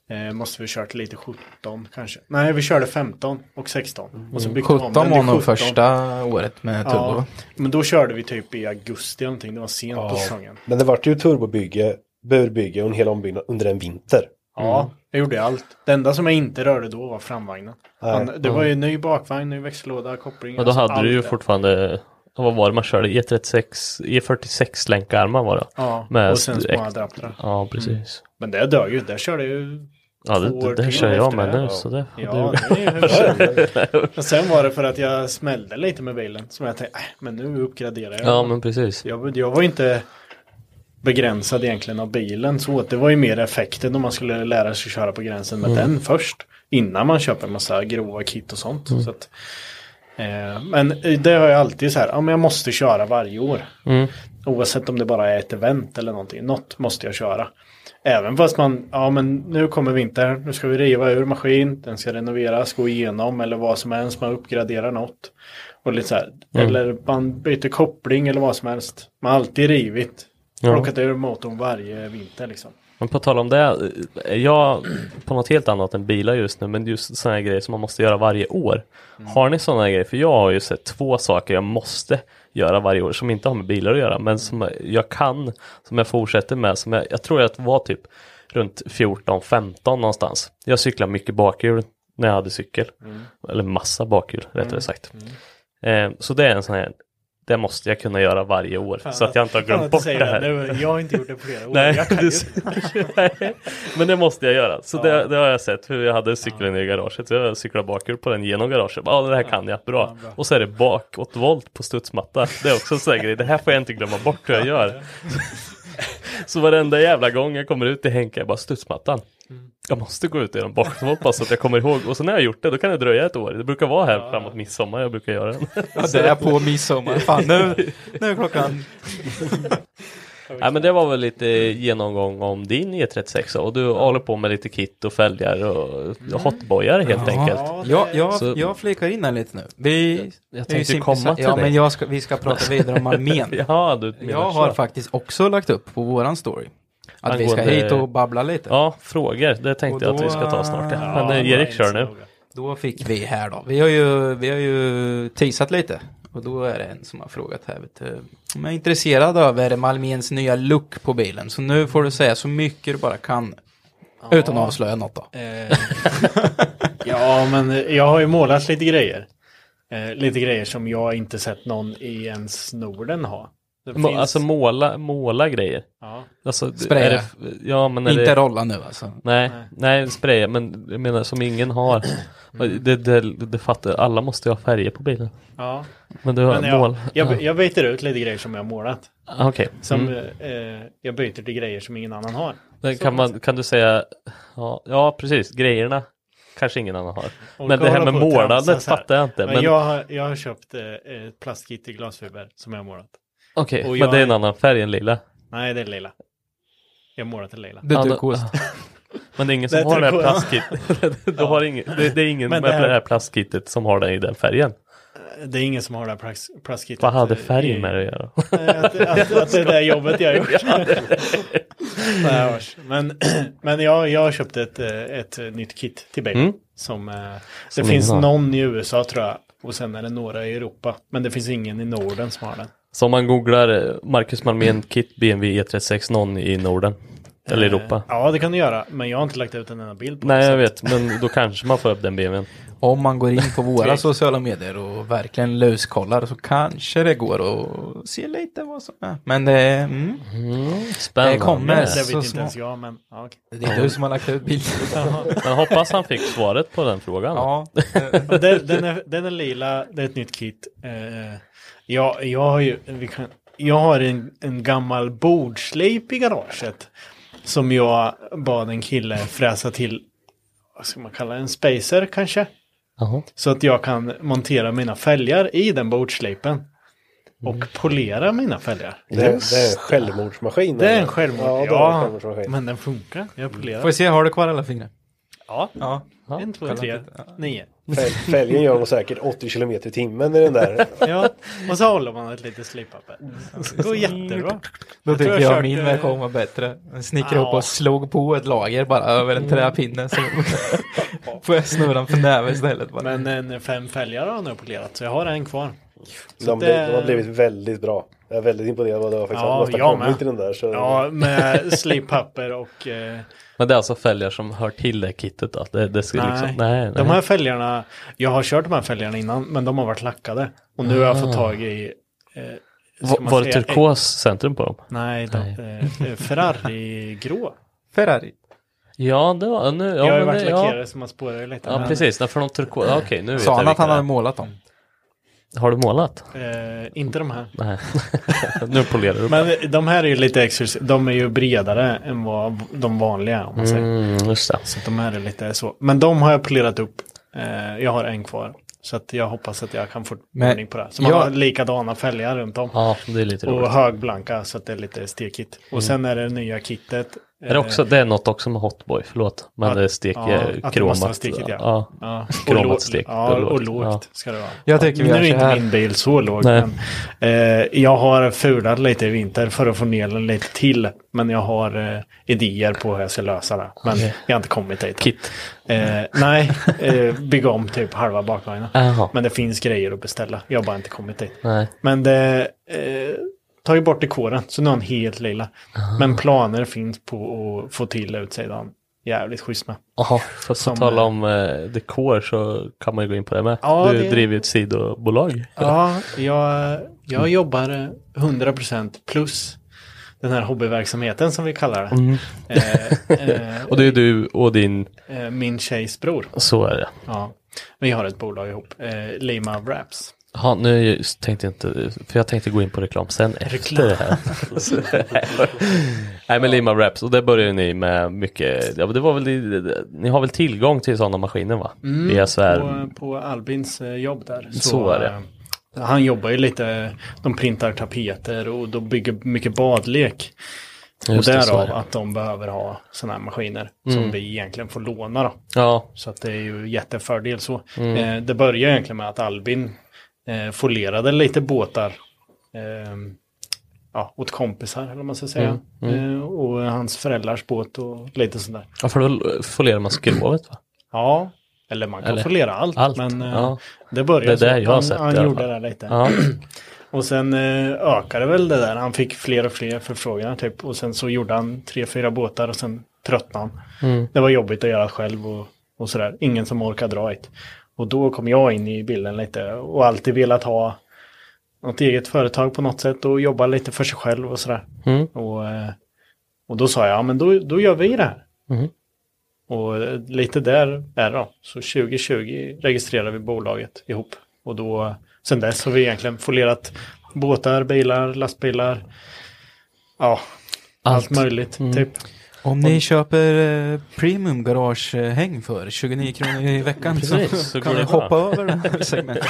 eh, måste vi kört lite 17 kanske. Nej, vi körde 15 och 16. Och så byggde vi
17
om den till
Mm. var nog första typ, året med turbo.
Ja, men då körde vi typ i augusti eller någonting. Det var sent på säsongen.
Men det vart ju turbobygge, burbygge och en hel ombyggnad under en vinter.
Mm.
Ja, jag gjorde allt. Det enda som jag inte rörde då var framvagnen. Han, det var
Mm.
ju ny bakvagn, ny växellåda, koppling.
Men då
alltså
hade du
allt
ju
det.
fortfarande, vad var det man körde? E E36, E46 länkarmar var det.
Ja,
med
och sen
st-
små adaptrar.
Ja, precis.
Men det dög ju. Där körde jag ju
Ja,
Två
det,
år
det, det
till
kör jag
efter
med
det,
nu.
ja.
Så det,
Ja,
det,
det är ju bra. Men sen var det för att jag smällde lite med bilen. Som jag tänkte, "Äh, men nu uppgraderar jag.
ja, men precis.
jag, jag var inte begränsad egentligen av bilen. Så det var ju mer effekten om man skulle lära sig köra på gränsen med
Mm.
den först. Innan man köper en massa grova kit och sånt.
Mm.
Så att, eh, men det har jag alltid så här, ja, men jag måste köra varje år. Oavsett om det bara är ett event eller någonting. Något måste jag köra. Även fast man, ja men nu kommer vintern, nu ska vi riva ur maskin, den ska renoveras, gå igenom eller vad som helst, man uppgraderar något. Och lite så här, Eller man byter koppling eller vad som helst. Man har alltid rivit,
Ja.
plockat ur motorn varje vinter liksom.
Men på tal om det, är jag på något helt annat än bilar just nu, men just sådana här grejer som man måste göra varje år. Har ni sådana grejer? För jag har ju sett två saker jag måste göra varje år som inte har med bilar att göra, men som jag kan, som jag fortsätter med, som jag, jag tror att var typ runt 14-15 någonstans. Jag cyklade mycket bakhjul när jag hade cykel, eller massa bakhjul rättare sagt. Eh, så det är en sån här, det måste jag kunna göra varje år så att jag inte har
Fan
glömt bort
säger
det här.
Nu, jag har inte gjort det på flera år.
Nej,
jag kan
du
ju.
ser- Nej, men det måste jag göra. Så det, det har jag sett hur jag hade cykeln i garaget. Så jag cyklade bakhjul på den genom garaget. Ja, ah, det här kan jag. Bra. Och så är det bakåtvolt på studsmatta. Det är också en sån här grej. Det här får jag inte glömma bort hur jag gör. Så varenda jävla gång jag kommer ut till Henke, jag bara studsmattan. Jag måste gå ut genom bakgården bara så att jag kommer ihåg. Och så när jag har gjort det, då kan det dröja ett år. Det brukar vara här framåt midsommar jag brukar göra den.
Ja, det är på midsommar. Fan, nu, nu är klockan...
Nej men det var väl lite genomgång om din E36 och du håller på med lite kit och fälgar och hotbojar helt
Ja,
enkelt.
jag, jag,
Eh, Så-
jag flikar in här lite nu. Vi,
Jag
det är ju
tänkte
simpel
komma
sak.
till
Ja,
dig.
men jag ska, vi ska prata vidare om armén.
ja, du menar
jag har
så.
faktiskt också lagt upp på våran story. Att vi ska
Angående-
hit och babbla lite.
Ja, frågor. Det tänkte
Och
jag att vi ska ta snart. Ja, men eh, Erik kör nu.
Då fick vi här då. Vi har ju, vi har ju teasat lite. Och då är det en som har frågat här. Vet du, om jag är intresserad över Malmens nya look på bilen. Så nu får du säga så mycket du bara kan. Utan att avslöja något då.
Eh, ja, men eh, jag har ju målat lite grejer. Eh, lite grejer som jag inte sett någon i ens Norden ha. Det
Må,
finns-
Alltså måla, måla grejer.
Ja.
Alltså, d-
Spraya.
är det, f- ja, men är
Inte
det,
rolla nu alltså.
Nej, nej, spraya, men jag menar som ingen har. Det, det, det fattar alla måste ju ha färger på bilen.
Ja.
Men du har
jag,
mål.
Jag, jag byter ut lite grejer som jag har målat.
Ah, okej.
Som
Mm.
eh, jag byter till grejer som ingen annan har.
Men
Så
kan, man, kan du säga, ja, ja precis, grejerna kanske ingen annan har.
Och
men det
jag
här
håller
med
på och tramsar
målandet
så här.
fattar jag inte. Men,
Men jag, har, jag har köpt eh, ett plastkit i glasfiber som jag har målat.
Okej,
Och
men
jag
det är en
är-
annan färg än lila.
Nej, det är lila. Jag har målat i lila.
Det är
Ja, då-
turkost.
Men det är
Det
ingen som
är
har det här
turkost.
plastkittet. Du har ingen, det, det är ingen
Men
med
det
det
här-
här, plastkittet som har det i den färgen.
Det är ingen som har det här plas- plastkittet.
Vad hade
eh,
färgen
i-
med det att göra?
Eh, att, att, att det är det jobbet jag har gjort. Nej, vars. men men jag, jag köpte ett, eh, ett nytt kit till bilen.
Mm.
Som, eh, det
Som
finns
ingen har.
någon i USA tror jag. Och sen är det några i Europa. Men det finns ingen i Norden som har den.
Så om man googlar eh, Marcus Malmén kit BMW E36 någon E i Norden. Eller
Eh,
Europa.
Ja, det kan du göra. Men jag har inte lagt ut en enda bild på det.
Nej
så
jag
att-
vet, men då kanske man får upp den BMWn.
Om man går in på våra
Tvek.
sociala medier och verkligen luskollar så kanske det går att se lite vad som är. Men det, är- mm,
Spännande.
Det kommer.
Det
Men
vet
så
inte
små.
ens jag, men ja, okej.
det är du som har lagt ut bilden.
Men hoppas han fick svaret på den frågan.
ja,
Och den, den, är, den är lila, det är ett nytt kit. Eh, jag, jag har ju, vi kan, jag har en, en gammal bordslip i garaget. Som jag bad en kille fräsa till, vad ska man kalla det, en spacer kanske?
Jaha.
Så att jag kan montera mina fälgar i den bordslipen. Och polera mina fälgar.
Det, är- det är en självmordsmaskin.
Det är en självmord.
Ja,
Ja,
det är en självmordsmaskin.
men den funkar. Jag polerar.
får vi se, har du kvar alla fingrar?
Ja,
Ja.
en, två,
kolla
tre,
lite.
nio.
Fäl- Fälgen gör nog säkert 80 kilometer i timmen i den där.
Ja, och så håller man ett litet slippapper. Det går jättebra.
Då
tror
tycker jag,
jag kört,
min
eh,
version var bättre. Den snickrade ihop
ja.
och slog på ett lager bara över en träpinne. Så får jag snurran för näven istället. Bara.
Men en fem fälgare har han nu polerat, så jag har en kvar. Så
De,
det-
de har blivit väldigt bra. Jag är väldigt imponerad av vad du har faktiskt
Ja, jag med.
åstadkommit i den där. Så
Ja, med slippapper och... Eh,
Men det är alltså fälgar som hör till det kittet då? Det, det ska
nej.
liksom, nej, nej.
De här fälgarna, jag har kört de här fälgarna innan, men de har varit lackade. Och nu har jag fått tag i... Eh, ska
Ah. Va-
man
var det
säga-
turkos centrum på dem?
Nej, de, eh, eh, Ferrari-grå.
Ferrari.
Ja, det var... Nu, ja,
jag har ju
men
varit
det- ja.
lackerare så man spårar ju lite.
Ja
men,
precis, Nej, för de turkos... ja, Okej, nu vet
Sa
jag
han att
vilka
han
det
hade
är.
målat dem?
Har du målat?
Eh, inte de här.
Nej. nu polerar du.
Men de här är ju lite exklusiva. De är ju bredare än vad de vanliga om man säger.
Mm, just det.
Så att de här är lite så. Men de har jag polerat upp. Eh, jag har en kvar. Så att jag hoppas att jag kan få
Men
ordning på det. här. Så man
jag-
har likadana fälgar runt om.
Ja, det är lite
och
roligt. Mm.
högblanka så att det är lite stekigt. Och sen är det nya kittet. Eh,
Är det, också, det är något också med Hotboy, förlåt. Men
Att-
det är stek,
ja,
eh,
att det måste
kromat.
vara stekigt, ja.
ja.
Ja, och
Kromat
lågt-
stek,
Ja,
det är lågt.
och lågt
Ja.
ska det vara.
Jag tycker vi
nu
gör
är
så
inte
här.
min bil så låg.
Nej.
Men, eh, jag har fulat lite i vinter för att få ner den lite till. Men jag har eh, idéer på hur jag ska lösa det. Men jag har inte kommit dit.
Kit.
Eh, nej, eh, bygga om typ halva bakvagnen.
Jaha.
Men det finns grejer att beställa. Jag har bara inte kommit dit.
Nej.
Men det eh, tar ju bort dekoren, så nu har han helt lila. Men planer finns på att få till utsidan. Jävligt schysst med.
Jaha, för att
Som,
tala
eh,
om eh, dekor så kan man ju gå in på det med.
Ja,
du
det-
driver ju ett sidobolag.
Ja, jag,
Mm.
jag jobbar eh, 100% plus den här hobbyverksamheten som vi kallar det. Eh, eh,
Mm. Och det är du och din,
eh, min tjejs bror.
så är det.
Ja. Vi har ett bolag ihop, eh, Lima Wraps.
Ha, nu tänkte jag inte, för jag tänkte gå in på reklam sen efter det här. Nej men Lima Raps, och där börjar ni med mycket, ja, men det var väl, det- det- ni har väl tillgång till sådana maskiner va?
Mm,
Via så här,
på, på Albins eh, jobb där.
Så är det.
eh, Han jobbar ju lite, de printar tapeter och de bygger mycket badlek. och
Just det, så är
därav
det.
att de behöver ha sådana här maskiner
Mm.
som vi egentligen får låna då.
Ja.
Så att det är ju jättefördel så.
Mm.
Eh, det börjar egentligen med att Albin eh, folerade lite båtar eh, ja, åt kompisar eller vad man ska säga.
Mm,
Eh, och hans föräldrars båt och lite sådär.
ja för då folerar man skrovet va?
Ja, eller man kan
Eller-
folera allt.
allt,
Men eh,
ja.
det började
Det är
så.
det jag har
han,
sett i
han
alla
gjorde
fall.
det lite.
Ja.
och sen eh, ökade väl det där. Han fick fler och fler förfrågningar typ. Och sen så gjorde han tre, fyra båtar och sen tröttnade han.
Mm.
Det var jobbigt att göra själv och, och sådär. Ingen som orkade dra ett. Och då kom jag in i bilden lite och alltid velat ha något eget företag på något sätt och jobba lite för sig själv och sådär.
Mm.
Och, eh, och då sa jag, ja men då, då gör vi det här.
Mm.
Och eh, lite där är det då. Så 2020 registrerar vi bolaget ihop. Och då, sen dess har vi egentligen folerat båtar, bilar, lastbilar. Ja, allt,
Allt.
möjligt
Mm.
typ.
Om ni köper eh, premium garagehäng för 29 kronor i veckan så,
Precis, så
kan
går
ni
det bra.
hoppa över den här segmentet.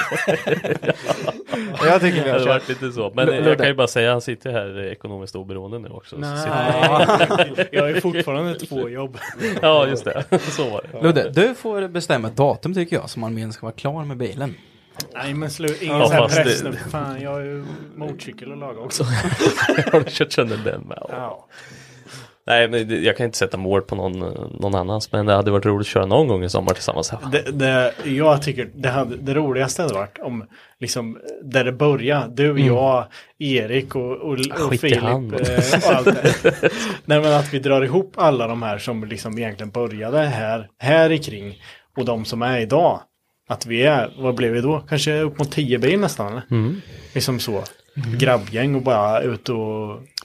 Jag tycker vi
Det
har
hade
kört.
varit lite så. Men
L-
eh, jag
Ludde.
kan ju bara säga, han sitter här eh, ekonomiskt oberoende nu också. Så
Nej.
sitter-
Jag har ju fortfarande två jobb.
ja, just det. Så var det.
Ludde, du får bestämma ett datum tycker jag som armén ska vara klar med bilen.
Nej men slut, ingen
Ja,
sån här
fast det-
press nu. Fan, jag har ju motorcykel att laga också.
Har du kört sönder den med?
Ja.
Nej, men det- jag kan inte sätta mål på någon, eh, någon annans. Men det hade varit roligt att köra någon gång i sommar tillsammans.
Det, det, jag tycker det, hade, det roligaste hade varit om, liksom, där det började, du,
Mm.
jag, Erik och, och, och
Skit i
Filip
han.
eh, och allt det. Nej men att vi drar ihop alla de här som liksom egentligen började här, här i kring och de som är idag. Att vi är, vad blev vi då? Kanske upp mot 10 bil nästan? eller?
Mm.
Liksom så. Grabbgäng och bara ut och...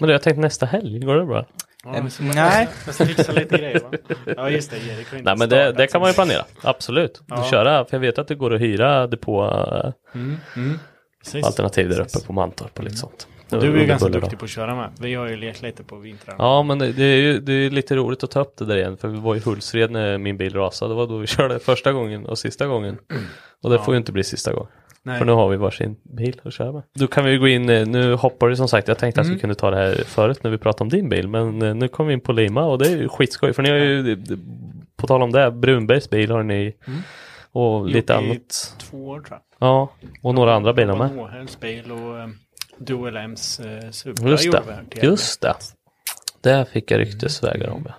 Men du, jag tänkte nästa helg, går det bra?
Ja,
Ehm,
så-
nej.
Jag ska fixa lite grejer va? Ja just det, Erik har inte
Nej men det,
startat
det kan man ju
sin-
planera, absolut.
Ja.
Köra, för jag vet att det går att hyra depå eh,
Mm, mm. Precis.
alternativ där uppe på Mantorp och lite sånt.
Mm. Du är ju
Under
ganska
buller då.
duktig på att köra med. Vi har ju lekt lite på vintrarna.
Ja men det, det är ju det är ju lite roligt att ta upp det där igen för vi var i Hultsfred när min bil rasade. Det var då vi körde första gången och sista gången. Och det
Mm. Ja.
får ju inte bli sista gången.
Nej.
För nu har vi varsin bil att köra med. Då kan vi ju gå in, eh, nu hoppar det som sagt, jag tänkte att vi
Mm.
kunde ta det här förut när vi pratade om din bil. Men eh, nu kom vi in på Lima och det är ju skitskoj. För ni har ju, eh, på tal om det, Brunbergs bil har ni och lite
Mm. Gjort i
annat.
Två år tror jag.
Ja, och några andra bilar med.
Mohells bil och eh, Dual M's eh, Supra
Just
gjorde
det.
vi Mm. här till
Just det. Där fick jag ryktesvägar om ja.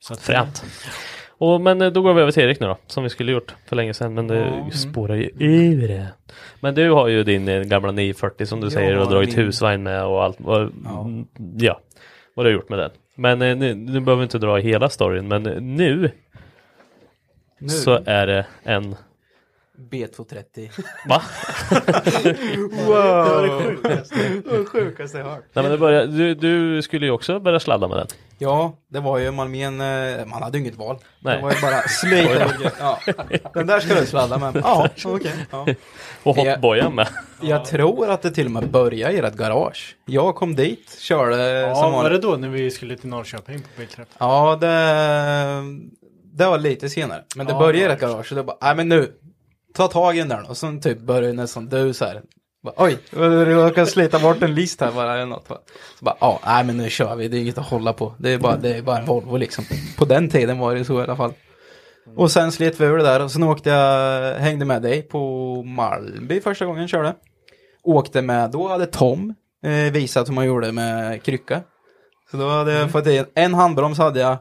Så att- eh,
Fränt. Och, men eh, då går vi över till Erik nu då, som vi skulle gjort för länge sedan, men det spårar ju ur. Men du har ju din eh, gamla 940 som du
Jag
säger och
har
dragit
min-
husvagn med och allt. vad-
Ja.
mm, ja, vad du har gjort med den. Men eh, nu, nu behöver vi inte dra hela storyn, men eh, nu,
Nu,
så är det en...
B230.
Va?
wow! Det var det sjukaste, det sjukaste jag hört.
Nej, men det börjar, du, du skulle ju också börja sladda med den.
Ja, det var ju Malmén, eh, man hade ju inget val.
Nej.
Det var ju bara slita
Oj då.
ur- ja. Den där ska du sladda med. Ja, okej. Ja.
Och
Ja.
hotbojen med.
Jag tror att det till och med började i ert garage. Jag kom dit, körde
Ja,
som
var det
vanligt.
då när vi skulle till Norrköping på bilträff?
Ja, det, det var lite senare. Men det
Ja,
började i
det
ert garage och det bara, nej men nu, ta tag i den där då. Och sen typ började nästan du så här. Bara, Oj, jag kan slita bort en list här bara eller något. va. Så bara, ja, nej men nu kör vi, det är inget att hålla på. Det är bara, det är bara en Volvo liksom. På den tiden var det så i alla fall. Och sen slet vi ur det där och sen åkte jag, hängde med dig på Malmby första gången jag körde. Åkte med, då hade Tom eh, visat hur man gjorde med krycka. Så då hade jag fått i en, en handbroms hade jag,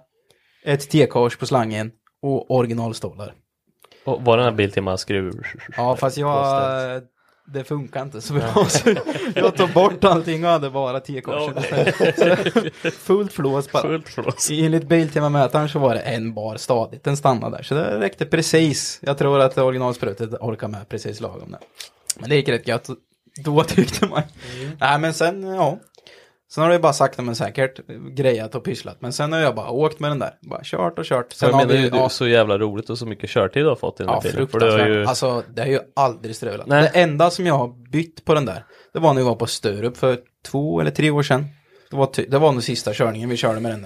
ett T-kors på slangen och originalstålar.
Och var den här Biltema skruv...
Ja fast
Kostat.
jag, det funkar inte så bra så jag tog bort allting och hade bara T-korset istället. Så Fullt flås bara.
Fullt flås.
Enligt Biltema-mätaren så var det en bar stadigt, den stannade där. Så det räckte precis. Jag tror att originalsprutet orkar med precis lagom det. Men det gick rätt gött. Då tyckte man. Nej men sen, ja. Sen har det bara sakta men säkert grejat och pysslat. Men sen har jag bara åkt med den där. Bara kört och kört. Sen
Sen jag
har
menar
vi-
ju du
ja.
så jävla roligt och så mycket körtid du har fått i den
Ja,
här bilen. För du har
fruktansvärt.
ju...
Alltså, det har ju aldrig strulat.
Nej.
Det enda som jag har bytt på den där, det var när jag var på Sturup för två eller tre år sedan. Det var, ty- det var nog sista körningen vi körde med den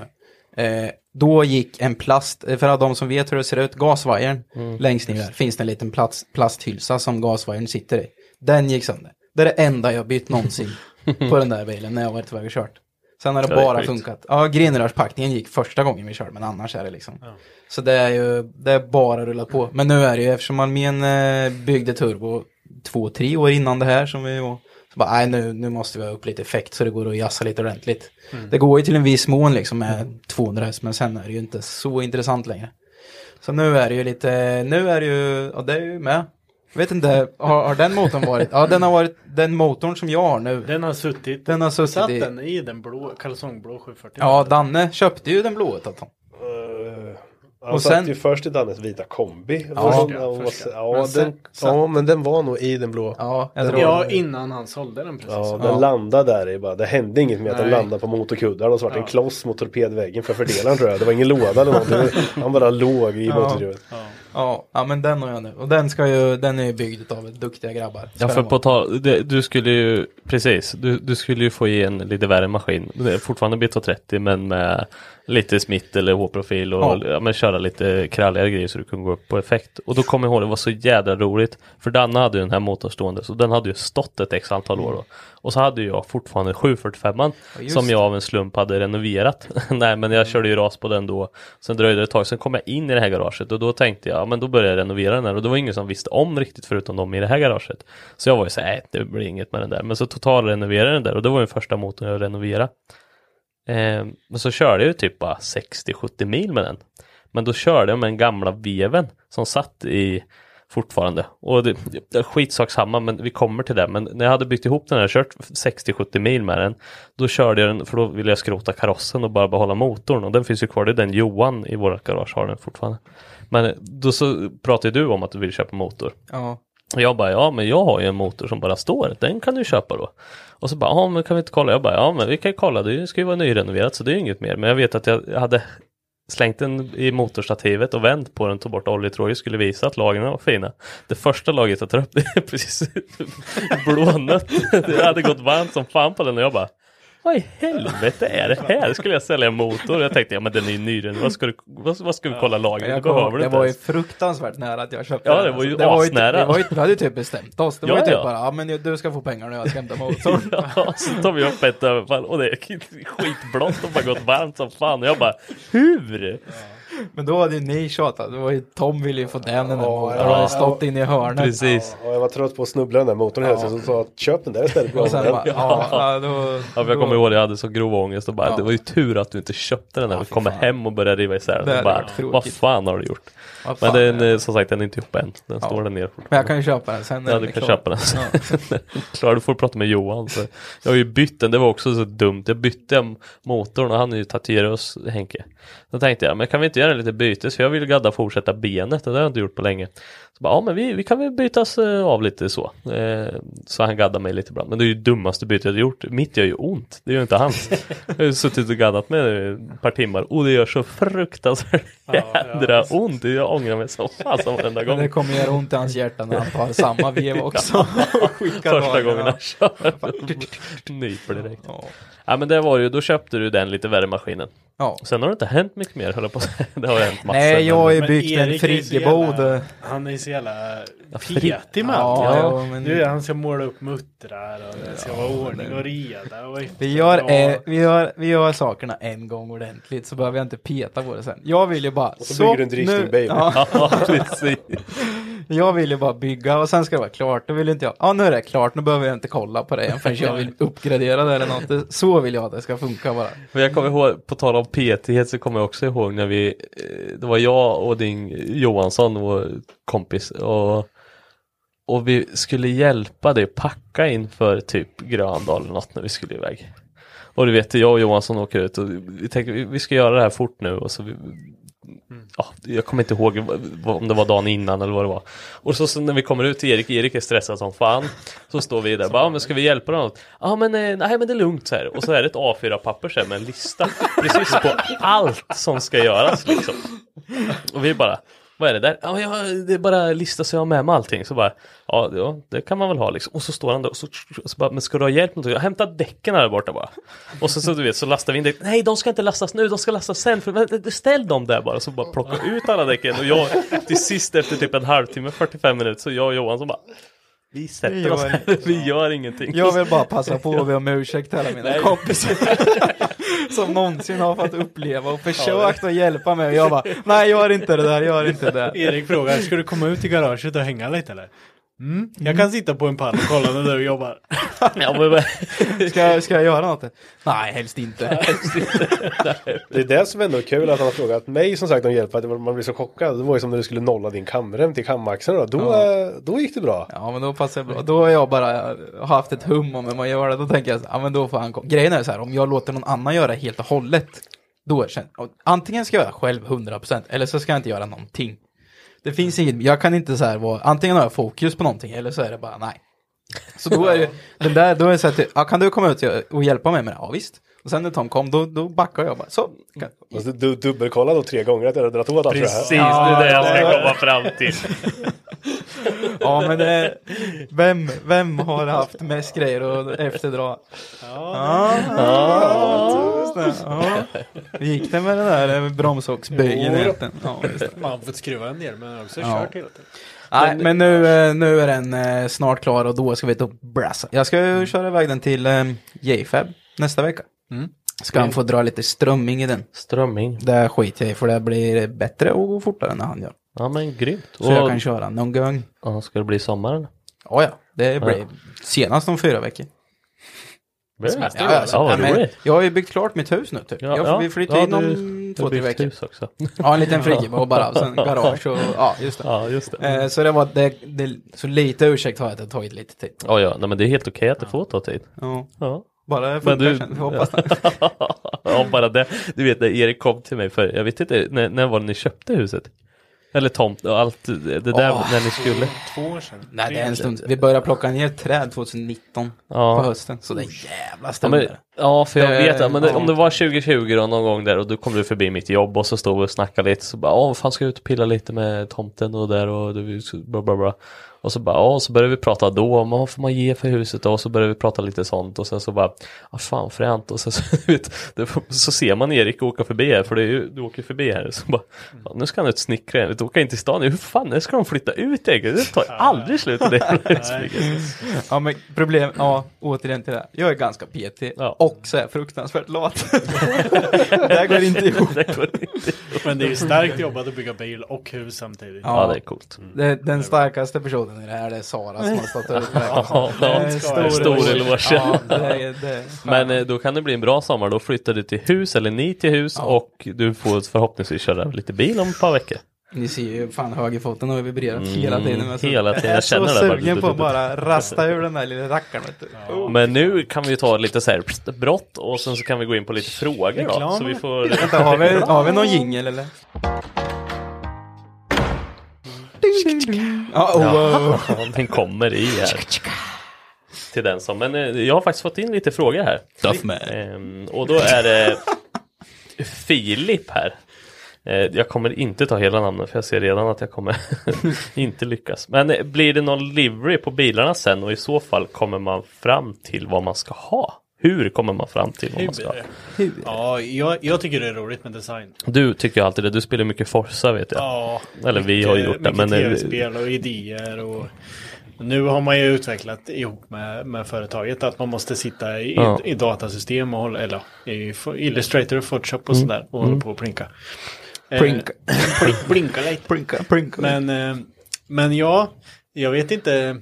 nu. Eh, då gick en plast, eh, för de som vet hur det ser ut, gasvajern,
Mm.
längst ner där finns det en liten plats, plasthylsa som gasvajern sitter i. Den gick sönder. Det är det enda jag bytt någonsin på den där bilen när jag varit iväg och kört. Sen har det
Ja, det är
bara
sjukt.
funkat. Ja, grenrörspackningen gick första gången vi körde, men annars är det liksom. Så det är ju, det är bara rullat på. Men nu är det ju, eftersom armén eh, byggde turbo två, tre år innan det här som vi var, så bara, nej nu, nu måste vi ha upp lite effekt så det går att jassa lite ordentligt.
Mm.
Det går ju till en viss mån liksom med 200 häst, men sen är det ju inte så intressant längre. Så nu är det ju lite, nu är det ju, ja det är ju med. Jag vet inte, har, har den motorn varit, ja den har varit, den motorn som jag har nu.
Den har suttit,
den har
Satt
suttit i,
den i den blå, kalsongblå 740?
ja Danne köpte ju den blåa Taton.
Eh, Han
Och
satt
sen-
ju först i Dannes vita kombi.
Ja.
Och sen-
Först,
ja,
och
först,
sen-
ja.
ja,
Men sen-
den- ja, men den var nog i den blå.
Ja,
den,
Ja,
var-
innan han sålde den precis.
ja, den landade där i bara. Det hände inget med att den
Nej.
landade på motorkuddar. Och så vart det en kloss mot torpedväggen för fördelaren tror jag. Det var ingen låda eller någonting. Han bara låg i motorhuvet.
Ja. Ja. ja, men den har jag nu. Och den, ska ju, den är ju byggd av duktiga grabbar.
Ja,
Ska
för
den
på tal, det- du skulle ju, precis, du, du skulle ju få i en lite värre maskin. Det är fortfarande BT30 men med lite smitt eller H-profil och
Ja.
ja. men köra lite kralligare grejer så du kunde gå upp på effekt. Och då kommer jag ihåg det var så jädra roligt. För Danne hade ju den här motorn stående så den hade ju stått ett x antal år då. Och så hade ju jag fortfarande 745
Ja, just Mm.
som jag av en slump hade renoverat. Nej men jag körde ju ras på den då. Sen dröjde det ett tag, sen kom jag in i det här garaget och då tänkte jag, ja, men då började jag renovera den här och det var ingen som visste om riktigt förutom de i det här garaget. Så jag var ju så här, "Nej, det blir inget med den där. Men så totalrenoverade den där och det var den första motorn jag renoverade. Eh, men så körde jag ju typ bara 60-70 mil med den. Men då körde jag med den gamla veven som satt i fortfarande. Och det, det, skitsak samma, men vi kommer till det. Men när jag hade byggt ihop den här, kört 60-70 mil med den, då körde jag den, för då ville jag skrota karossen och bara behålla motorn. Och den finns ju kvar, det är den Johan i vårt garage har den fortfarande. Men eh, då så pratade du om att du vill köpa motor.
Ja.
Och jag bara, ja men jag har ju en motor som bara står, den kan du köpa då. Och så bara, ja men kan vi inte kolla? Jag bara, ja men vi kan ju kolla, det ska ju vara nyrenoverat så det är ju inget mer. Men jag vet att jag hade slängt den i motorstativet och vänt på den, tog bort oljetråget, skulle visa att lagren var fina. Det första lagret jag tar upp, det är precis blånött. Det hade gått varmt som fan på den och jag bara, vad i helvete är det här? Skulle jag sälja en motor? Jag tänkte, ja men den är ju nyrenoverad, vad ska, du, vad, vad ska vi kolla lagret? Du
Jag kommer ihåg,
behöver det
det
inte
var ju
ens.
fruktansvärt nära att jag köpte
Ja,
den,
det var ju
alltså. ju typ-
asnära.
det var ju, vi hade ju typ bestämt oss. Det var
Ja,
ju typ
ja.
bara, ja men du ska få pengar nu, jag ska hämta motorn.
Ja, så tar vi upp ett överfall och det är skitblått och bara gått varmt som fan. Och jag bara, hur?
Men då hade ju ni tjatat, det var ju Tom ville ju få den den där motorn.
ja.
Han hade stått inne i hörnet.
Ja, och jag var trött på att snubbla den där motorn hela tiden. Så sa jag, köp den där istället.
Och sen bara, ja, ja, då,
Ja, för jag
då-
kommer ihåg att jag hade så grov ångest och bara,
Ja.
det var ju tur att du inte köpte den där. Vi kommer hem och börjar riva isär
Det
den. Och
hade
bara,
varit tråkigt.
vad fan har du gjort?
Vad fan
Men den, eh, som sagt, den är inte ihop än. Den
Ja.
står där nere
Men jag kan ju köpa den sen när
Ja,
den
du
är
kan
klar.
köpa den.
Ja.
Ja. klar, du får prata med Johan. Så. Jag har ju bytt den, det var också så dumt. Jag bytte m- motorn och han är ju tatuerös, Henke. Då tänkte jag, men kan vi inte göra lite bytes? För jag vill gadda fortsätta benet, det har jag inte gjort på länge. Så bara, ja men vi, vi kan väl bytas eh, av lite så. Eh, Så han gaddar mig lite ibland. Men det är ju dummaste bytet jag har gjort. Mitt gör ju ont, det gör inte hans. Jag har ju suttit och gaddat med ett par timmar och det gör så fruktansvärt jädra ont. Jag ångrar mig så fasen varenda
Men
gång.
det kommer göra ont i hans hjärta när han tar samma vev också. och skickar
Första
lagen.
gången han kör. Nyper direkt. Ja men det var ju, då köpte du den lite värre maskinen.
Ja.
Sen har det inte hänt mycket mer höll jag på att säga. Det har hänt massor.
Nej, jag har ju
men-
byggt en
Erik är ju så jävla-
friggebod.
Han är så jävla
fri-
petig med
Ja,
allt.
ja, men-
Du, han ska måla upp muttrar och det ska vara ordning och reda. Och
Vi gör,
Ja.
eh, vi, gör, vi gör sakerna en gång ordentligt så behöver jag inte peta på det sen. Jag vill ju bara... Och
så bygger du en drifting baby. Ja, precis.
Jag vill ju bara bygga och sen ska det vara klart. Då vill inte jag... Ja, nu är det klart. Nu behöver jag inte kolla på det igen förrän jag vill uppgradera det eller något. Det- Så vill jag att det ska funka bara.
Men jag kommer ihåg, på tal om petighet så kommer jag också ihåg när vi, eh, det var jag och din Johansson, vår kompis, och, och vi skulle hjälpa dig packa inför typ Gröndal eller något när vi skulle iväg. Och du vet, jag och Johansson åker ut och vi tänkte vi- vi ska göra det här fort nu och så vi, ja, jag kommer inte ihåg vad- om det var dagen innan eller vad det var. Och så, så när vi kommer ut till Erik, Erik är stressad som fan. Så står vi där, bara, "Ja, men ska vi hjälpa honom? Ja men eh, nej men det är lugnt så här. Och så är det ett A4-papper så här med en lista precis på allt som ska göras liksom. Och vi bara, vad är det där? Ja, men jag, det är bara en lista så jag har med mig allting. Så bara, ja, ja det kan man väl ha liksom. Och så står han där och så, och så bara, men ska du ha hjälp med någonting? Jag hämtar däcken här borta bara. Och så, så du vet, så lastar vi in däcken. Nej, de ska inte lastas nu, de ska lastas sen. För, men, ställ dem där bara. Så bara plocka ut alla däcken. Och jag, till sist efter typ en halvtimme, 45 minuter, så jag och Johan som bara, vi
Vi
sätter
gör
oss här, vi gör ingenting.
Jag vill bara passa på att be om ursäkt till alla mina
Nej.
kompisar som någonsin har fått uppleva och försökt att hjälpa mig och jag bara nej gör inte det där, gör inte det där.
Erik frågar, ska du komma ut i garaget och hänga lite eller? Mm, jag kan sitta på en pall och kolla när du jobbar.
ska, ska jag göra något? Nej, helst inte.
Det är det som ändå är kul att han har frågat mig som sagt om hjälp. Att det var- man blir så chockad. Det var ju som när du skulle nolla din kamrem till kamaxeln. Då, då,
Ja.
eh, då gick det bra.
Ja men då passar det bra. Då har jag bara haft ett hum om hur man gör det. Då tänker jag så, ja men då får han komma. Grejen är så här, om jag låter någon annan göra helt och hållet. Då känner, antingen ska jag göra själv 100% eller så ska jag inte göra någonting. Det finns inget, jag kan inte så här vara, antingen har jag fokus på någonting eller så är det bara nej. Så då är det, den där, då är det så här, typ, ja, kan du komma ut och hjälpa mig med det? Ja visst. Och sen när Tom kom, då, då backar jag bara, så. kan-
Alltså, du dubbelkollade då tre gånger att jag hade dragit åt allt det här.
Precis, det är det jag ska komma fram till.
Ja men det, vem, vem har haft mest grejer att efterdra? Ja, ja, just det. ja. Hur gick det med den där bromsågsböjen
Jo.
egentligen? Ja, just det.
Man har fått skruva en del men också
Ja.
kört hela tiden.
Nej, men nu, eh, nu är den eh, snart klar och då ska vi ta och brassa. Jag ska ju köra iväg den till eh, JFab nästa vecka.
Mm.
Ska han få dra lite strömming i den.
Strömming?
Det skiter jag i för det blir bättre och går fortare än när han gör.
Ja men grymt.
Så jag kan köra någon gång.
Ja, ska det bli sommaren?
Ja, ja. Det blir
Ja.
senast om fyra veckor.
Semester,
ja, alltså,
ja, vad
nej, men,
roligt.
jag har ju byggt klart mitt hus nu typ.
Ja,
jag,
ja.
vi flyttar
Ja,
in om
du- du
två,
har
tre
byggt
veckor.
hus också.
Ja, en liten friggebo bara, och sen garage och ja, just det.
Ja, just det. Mm.
Eh, så det var, det, det, så lite ursäkt har jag att det har tagit lite tid.
Ja, ja, nej men det är helt okej att det får ta tid.
Ja.
Ja.
Bara det
Men
funkar
du,
sen, vi hoppas det.
ja, bara det. Du vet när Erik kom till mig för, jag vet inte, när, när var det ni köpte huset? Eller tomt och allt det där
Åh.
när ni skulle.
Två år sedan.
Nej, det är en stund. Vi började plocka ner träd 2019
Ja.
på hösten. Så det är en jävla
Ja,
stund.
men,
där.
ja, för jag
Det-
vet att- men det,
ja.
om det var 2020 då, någon gång där och då kom du förbi mitt jobb och så stod vi och snackade lite så bara, åh, fan ska jag ut och pilla lite med tomten och där och du, bla bla bla. Och så bara, ja, och så började vi prata då om vad får man ge för huset då? Och så började vi prata lite sånt och sen så bara, ja fan fränt och sen så, du vet, det, så ser man Erik åka förbi här för det är ju, du åker förbi här så bara, ja, nu ska han ut och snickra igen, du åker in till stan, hur fan, när ska de flytta ut egentligen? Det tar ju aldrig slut i det
Ja men problem, ja återigen till det här. Jag är ganska petig och så är jag fruktansvärt lat. det här går inte ihop.
Det går inte ihop.
Men det är ju starkt jobbat att bygga bil och hus samtidigt.
Ja.
det är coolt.
Det, den starkaste personen i det här det är Sara som har stått ut med det.
Ja,
Det är
ja, stor eloge.
Ja, det, är- det.
Men eh, då kan det bli en bra sommar. Då flyttar du till hus eller ni till hus och du får förhoppningsvis köra lite bil om ett par veckor.
Ni ser ju fan högerfoten har vibrerat hela
Mm,
tiden. alltså.
hela tiden.
jag är
Jag
så
känner det bara.
sugen på att bara rasta ur den där lilla rackaren. Vet du. Oh.
Men nu kan vi ta lite så här pst, brott och sen så kan vi gå in på lite frågor då.
Reklam.
Så vi får...
Vänta, har vi, har vi någon jingel eller? Ja, oh,
Ja,
oh.
den kommer i här. Till den som. Men eh, jag har faktiskt fått in lite frågor här.
Stuff man.
Ehm, Och då är det Filip här. Eh, Jag kommer inte ta hela namnet för jag ser redan att jag kommer inte lyckas. Men eh, blir det någon livery på bilarna sen och i så fall kommer man fram till vad man ska ha? Hur kommer man fram till vad man ska ha?
Ja, jag, jag tycker det är roligt med design.
Du tycker ju alltid det, du spelar mycket Forza vet jag.
Ja,
Eller vi har ju gjort det.
Mycket
Men, eh,
tv-spel och idéer och nu har man ju utvecklat ihop med, med företaget att man måste sitta i,
Ja.
i datasystem och hålla, eller ja, i Fo- Illustrator och Photoshop
Mm.
och sådär och hålla på och plinka. Eh,
Plinka.
blink- blinka lite.
Prinka, prinka.
Men, eh, men ja, jag vet inte.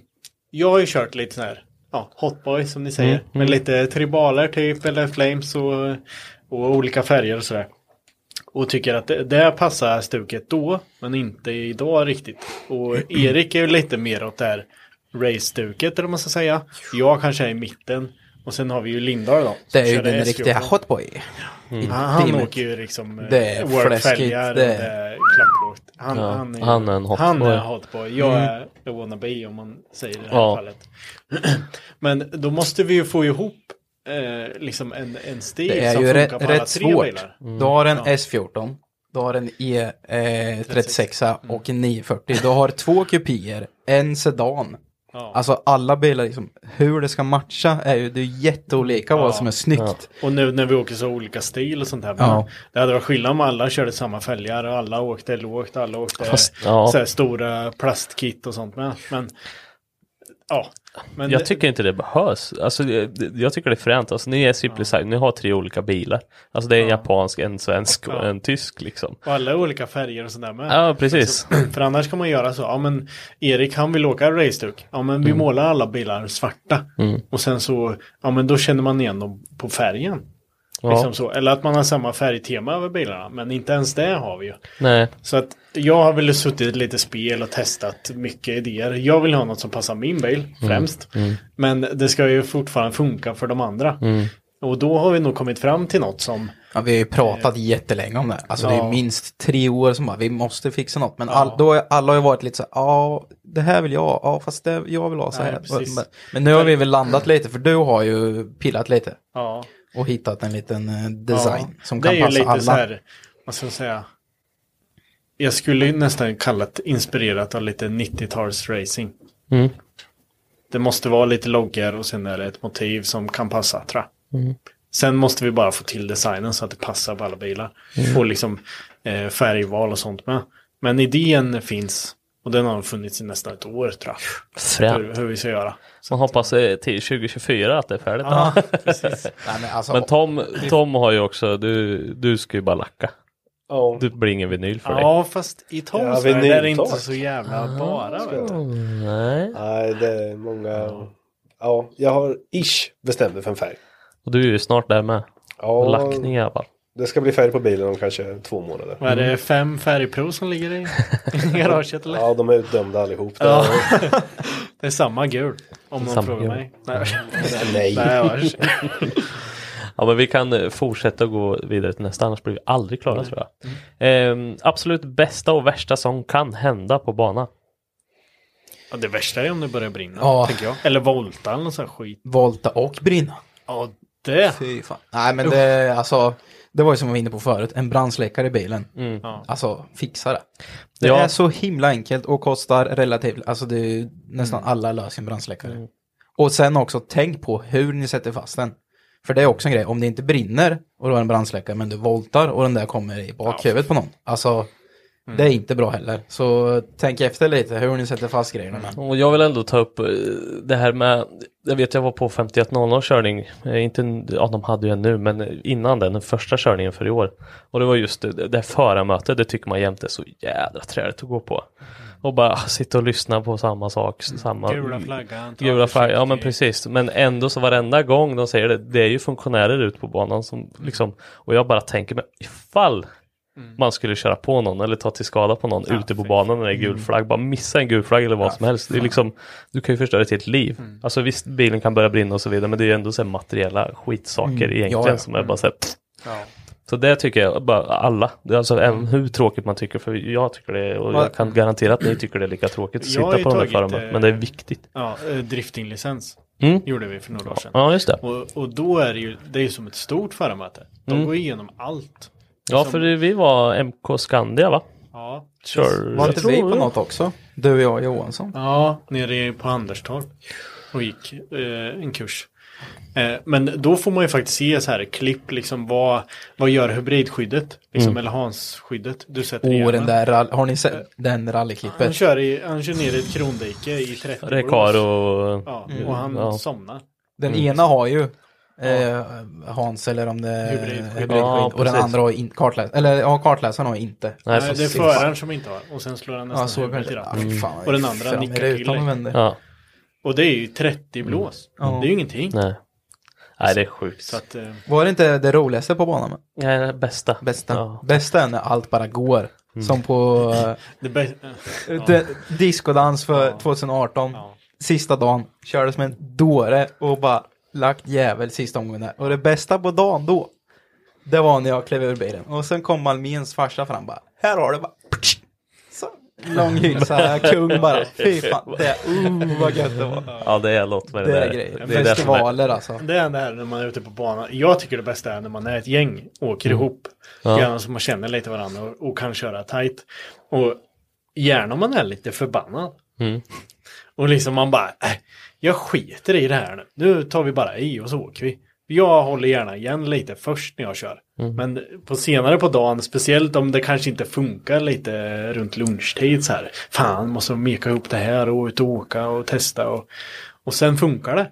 Jag har ju kört lite sån här ja, hotboy som ni säger.
Mm, mm.
Med lite tribaler typ eller flames och, och olika färger och sådär. Och tycker att det, det passar stuket då men inte idag riktigt. Och Erik är ju lite mer åt det här race-stuket eller vad man ska säga. Jag kanske är i mitten. Och sen har vi ju Lindahl då.
Det är ju
Kör
den
S14.
riktiga hotboy.
Han, han
Teamet.
åker ju liksom eh,
Det är
workfälgar
fläskigt,
och
det
det
är-
är Han,
Ja,
han, är,
han är en hot
han
boy.
Är hot boy. Jag
Mm.
är a wannabe om man säger i det här
Ja.
fallet. Men då måste vi ju få ihop eh, liksom en, en stil
Det är
som
ju
funkar
rätt,
på alla
rätt
tre
svårt.
bilar.
Du har en S14, du har en E36
Mm.
och en 940. Du har två kupéer, en sedan.
Ja.
Alltså alla bilar, liksom, hur det ska matcha är ju det är jätteolika vad
Ja.
som är snyggt.
Och nu när vi åker så olika stil och sånt här.
Ja.
Det hade varit skillnad om alla körde samma fälgar och alla åkte lågt, alla åkte
Fast- ja.
så här stora plastkit och sånt med. Men ja, men
jag tycker inte det behövs. Alltså, jag, jag tycker det är fränt. Alltså, ni är Simplified, ni har tre olika bilar. Alltså det är en japansk, en svensk och en tysk liksom.
Och alla olika färger och sådär med.
Ja, precis.
Alltså, för annars kan man göra så. Ja, men Erik han vill åka raceduck. Ja, men vi
Mm.
målar alla bilar svarta.
Mm.
Och sen så, ja men då känner man igen dem på färgen.
Ja.
Liksom så. Eller att man har samma färgtema över bilarna. Men inte ens det har vi ju.
Nej.
Så att jag har väl suttit lite spel och testat mycket idéer. Jag vill ha något som passar min bil främst.
Mm.
Men det ska ju fortfarande funka för de andra.
Mm.
Och då har vi nog kommit fram till något som
Ja, vi har ju pratat jättelänge om det. här. Alltså det
Ja.
är minst tre år som bara, vi måste fixa något. Men all, då, är- alla har ju varit lite så här, ja, det här vill jag, ja, fast det, jag vill ha så
Nej,
här.
precis.
men, men nu har vi väl landat lite, för du har ju pillat lite.
Ja.
Och hittat en liten eh, design
Ja,
som kan
Det är ju
passa
lite
alla.
så här, vad ska jag säga? Jag skulle ju nästan kalla det inspirerat av lite 90-tals racing.
Mm.
Det måste vara lite loggor och sen är det ett motiv som kan passa, tror jag.
Mm.
Sen måste vi bara få till designen så att det passar på alla bilar.
Mm.
Få liksom eh, färgval och sånt med. Men idén finns och den har funnits i nästan ett år tror jag.
Fränt.
Hur, hur vi ska göra.
Man hoppas eh, till 2024 att det är färdigt.
Ja,
då.
precis.
Nej, men alltså-
Men Tom, Tom har ju också, du, du ska ju bara lacka.
Ja.
Du blir ingen vinyl för dig.
Ja, fast i Toms värld är det inte så jävla bara. vet du.
Nej.
Nej, det är många. Ja, jag har ish bestämt mig för en färg.
Och du är ju snart där med.
Ja.
Lackning i alla fall.
Det ska bli färg på bilen om kanske två månader.
Vad är det,
Mm.
fem färgprov som ligger i i garaget eller?
Ja, de är utdömda allihop.
Ja. det är samma gul. Om
Det är
någon
samma
frågar
gul.
mig. Nej.
Nej.
Nej vars.
Ja men vi kan eh, fortsätta och gå vidare till nästa annars blir vi aldrig
Mm.
klara tror jag. Ehm, absolut bästa och värsta som kan hända på banan.
ja, det värsta är om det börjar brinna.
Ja.
Tänker jag. Eller volta eller någon sån här skit.
Volta och brinna.
Ja, det.
Fy fan. Nej men det, alltså, det var ju som vi var inne på förut, en brandsläckare i bilen.
Mm.
Alltså fixa det. Det
Ja.
är så himla enkelt och kostar relativt, alltså det är ju nästan
Mm.
alla löser en brandsläckare. Och sen också tänk på hur ni sätter fast den. För det är också en grej, om det inte brinner och du har en brandsläckare men du voltar och den där kommer i bakhuvudet på någon. Alltså
Mm.
det är inte bra heller. Så tänk efter lite hur ni sätter fast
Mm.
grejerna. Med.
Och jag vill ändå ta upp eh, det här med, jag vet jag var på 5100 körning, eh, inte, en- ja de hade ju en nu, men innan den, den första körningen för i år. Och det var just det, det här förarmötet, det tycker man jämt är så jädra träligt att gå på. Och bara ah, sitta och lyssna på samma sak, samma
Gula flaggan, ta
Gula flaggan, ja men
försiktigt.
precis. Men ändå så varenda gång de säger det, det är ju funktionärer ut på banan som liksom, och jag bara tänker mig ifall man skulle köra på någon eller ta till skada på någon ute på banan när det är gul flagg. Bara missa en gul flagg eller vad som helst. Det är liksom, du kan ju förstöra ett helt liv. Alltså visst, bilen kan börja brinna och så vidare, men det är ju ändå så här materiella skitsaker
Mm. Ja,
egentligen
ja.
som är bara så här, pff.
Ja.
Så det tycker jag, bara alla, Det är alltså även hur tråkigt man tycker, för jag tycker det och jag kan garantera att ni tycker det är lika tråkigt att
Jag har
sitta
ju
på de där
tagit,
förarna,
eh,
men det är viktigt.
Ja, eh, driftinglicens.
Mm.
Gjorde vi för några år sedan.
Ja, just det.
Och, och då är det ju, det är ju som ett stort förarmöte. De
Mm.
går igenom allt.
Ja, för vi var MK Skandia va?
Ja.
Kör...
Var inte vi på något också? Du och jag Johansson.
Ja, nere på Anderstorp. Och gick eh, en kurs. Eh, men då får man ju faktiskt se så här klipp, liksom vad, vad gör hybridskyddet? Liksom,
Mm.
Eller Hans-skyddet. Du sätter
Och
igen
den där, rall- har ni sett den
Han
rallyklippet?
kör, i, han kör ner i ett krondike i 30 blås.
Recaro.
Ja,
Mm.
och han
Ja.
somnar.
Den
Mm.
ena har ju eh, Hans eller om det är
Hybridskydd.
hybridskydd
Ja,
och den
precis.
andra har in, kartläs eller ja, kartläsaren har inte.
Nej, det är föraren som inte har. Och sen slår han
Ja, så
nästan huvudet
kanske.
i
Ja,
ratten.
fan, vad
och den
är
andra
fram i
nickar till.
rutan och
dig.
vänder. Ja.
Och det är ju 30 blås.
Mm. Ja.
Det är ju ingenting.
Nej. Nej, det är sjukt.
Så att, eh,
Var det inte det roligaste på banan?
Nej, det bästa.
Bästa. Bästa är när allt bara går.
Mm.
Som på
Det bäst-
eh,
Ja.
de- discodans för 2018. Sista dagen. Körde som en dåre och bara lagt jävel sista omgången där. Och det bästa på dagen då. Det var när jag klev ur bilen. Och sen kom Malmins farsa fram bara. Här har du bara. Lång hylsa, kung bara. Fy fan, det, uh, vad gött det var.
Ja det är något med det,
Det är
där.
grejer.
Det är det som är-
Festivaler alltså.
Det är det här när man är ute på banan. Jag tycker det bästa är när man är ett gäng, åker
Mm.
ihop.
Ja.
Gärna så man känner lite varandra och, och kan köra tight. Och gärna om man är lite förbannad.
Mm.
Och liksom man bara, äh, jag skiter i det här nu. Nu tar vi bara i och så åker vi. Jag håller gärna igen lite först när jag kör.
Mm.
Men på senare på dagen, speciellt om det kanske inte funkar lite runt lunchtid så här. Fan, måste meka ihop det här och ut och åka och testa och, och sen funkar det.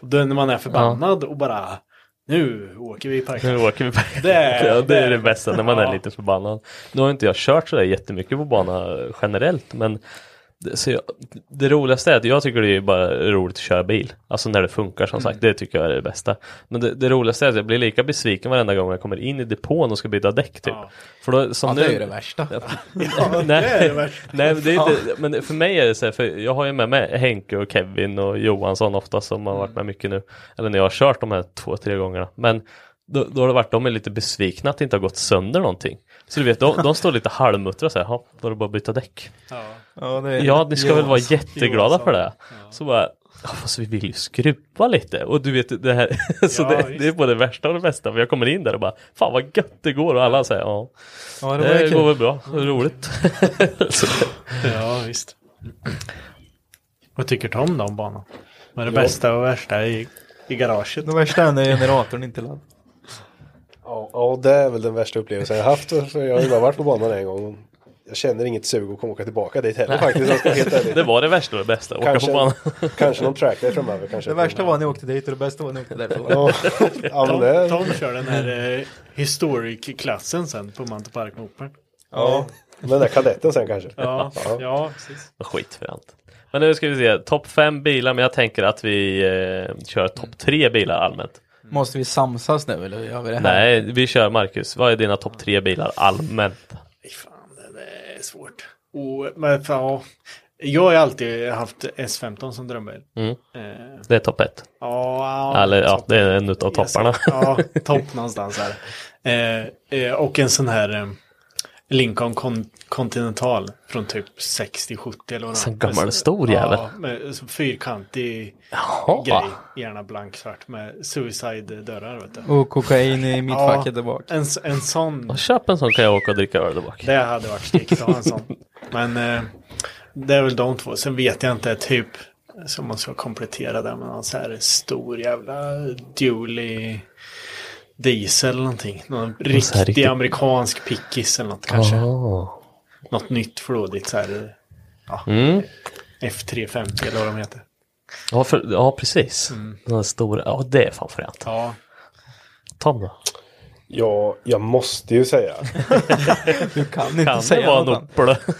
Och då när man är förbannad och bara nu åker vi i parken.
Nu åker vi på
Det-
det, ja, det är
det-
det bästa när man är
Ja.
lite förbannad. Nu har inte jag kört sådär jättemycket på bana generellt men det, så jag, det roligaste är att jag tycker det är bara roligt att köra bil. Alltså när det funkar som
Mm.
sagt, det tycker jag är det bästa. Men det, det roligaste är att jag blir lika besviken varenda gång jag kommer in i depån och ska byta däck typ. För då, som
Ja,
nu,
det är ju det värsta.
nej,
det är det värsta.
nej, men det är inte, men för mig är det så här, för jag har ju med mig Henke och Kevin och Johansson ofta som har
Mm.
varit med mycket nu. Eller när jag har kört de här två, tre gångerna. Men då, då har det varit, de är lite besvikna att det inte har gått sönder någonting. Så du vet, de, de står lite halvmuttra och säger, ja, då är det bara att byta däck.
Ja, det är-
Ja, ni ska väl vara
Johansson.
jätteglada för det. Så bara, "Ja, fast vi vill ju skruva lite. Och du vet, det här, så
Ja,
det,
visst.
det är både det värsta och det bästa. För jag kommer in där och bara, fan vad gött det går. Och alla säger, ja,
Ja, det var
det,
ju kul."
går väl bra,
Mm.
det är roligt. så,
Ja, visst. Vad tycker Tom då om banan? Vad är det
Ja.
bästa och värsta i, i garaget?
Det värsta är när generatorn inte laddar.
Ja, ja, det är väl den värsta upplevelsen jag haft. För jag har ju bara varit på banan en gång. Jag känner inget sug att komma åka tillbaka dit heller faktiskt. Jag ska vara helt ärlig.
det var det värsta och det bästa, åka på banan.
kanske någon track där framöver. Kanske
Det värsta var när jag åkte dit och det bästa var när jag åkte därifrån.
Ja, ja, men
Tom,
det...
Tom kör den här eh, historic-klassen sen på Mantorp Park Moped.
Ja. Den där kadetten sen kanske.
Ja, ja, precis.
Vad Skit för allt. Men nu ska vi se, topp fem bilar, men jag tänker att vi eh, kör topp tre bilar allmänt.
Mm. Måste vi samsas nu eller gör vi det här?
Nej, vi kör Marcus, vad är dina topp tre bilar allmänt?
Det är svårt. Och, men, fan, ja. Jag har ju alltid haft S15 som drömbil.
Mm.
Eh,
Det är topp ett.
Ja,
Eller ja, det är en utav topparna.
Ja, topp någonstans här. Eh, eh, och en sån här eh, Lincoln Con- Continental från typ 60-70 eller något.
Sån gammal stor jävel.
Ja, med så fyrkantig grej. Gärna blanksvart med suicide-dörrar. Vet du.
Och kokain i mittfacket där bak.
en, s- en sån
Och köp en sån kan jag åka och dricka öl där bak.
det hade varit stickt att ha en sån. Men eh, det är väl de två. Sen vet jag inte typ som man ska komplettera där med någon så här stor jävla dually diesel eller någonting. Någon
så här
riktig
riktigt-
amerikansk pickis eller något kanske.
Ah.
Något nytt flådigt så här. eh, Ja,
Mm.
F350 eller vad de heter.
Ja, för, ja precis. Den stora, ja det är fan fränt.
Ja,
Tom då?
Ja, jag måste ju säga.
Du kan inte
Kan det
säga
vara en
något. annat.
Opel?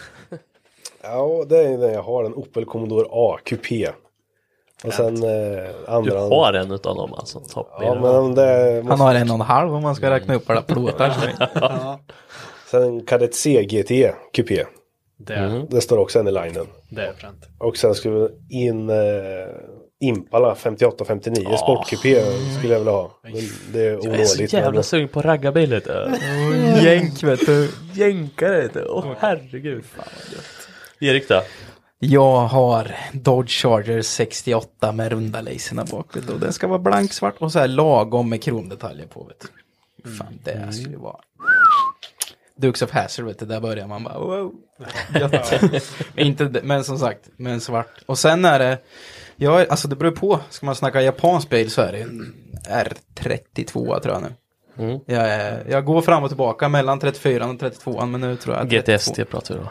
Ja, det är den jag har. En Opel Commodore A Coupé. Och sen eh,
Du
andra...
har en utav dem alltså,
Ja,
toppbilar.
men det...
Han har en och en halv om man ska räkna upp alla plåtar. som är-
Sen Kadett C GT Coupé.
det,
Mm.
Det står också en i linen.
det är fränt.
Och sen skulle jag in eh, Impala 58-59
Ah.
sportcoupé skulle jag vilja ha. Men det är
Jag är så
onödigt.
jävla
men-
sugen på raggarbil lite.
Jänk vet du.
Jänkare heter det. Åh herregud. Fan vad gött. Erik då?
Jag har Dodge Charger 68 med runda laserna bak. vet du. Och den ska vara blanksvart och så här lagom med kromdetaljer på. Vet du. Fan det skulle vara. Dukes of Hazzard vet du, där börjar man bara wow. Gött. Inte, det- men som sagt, men svart. Och sen är det, jag, är- alltså det beror på, ska man snacka japansk bil så är det en R32 tror jag nu.
Mm.
Jag, är, jag går fram och tillbaka mellan 34 och 32 men nu tror jag
GTST pratar vi då.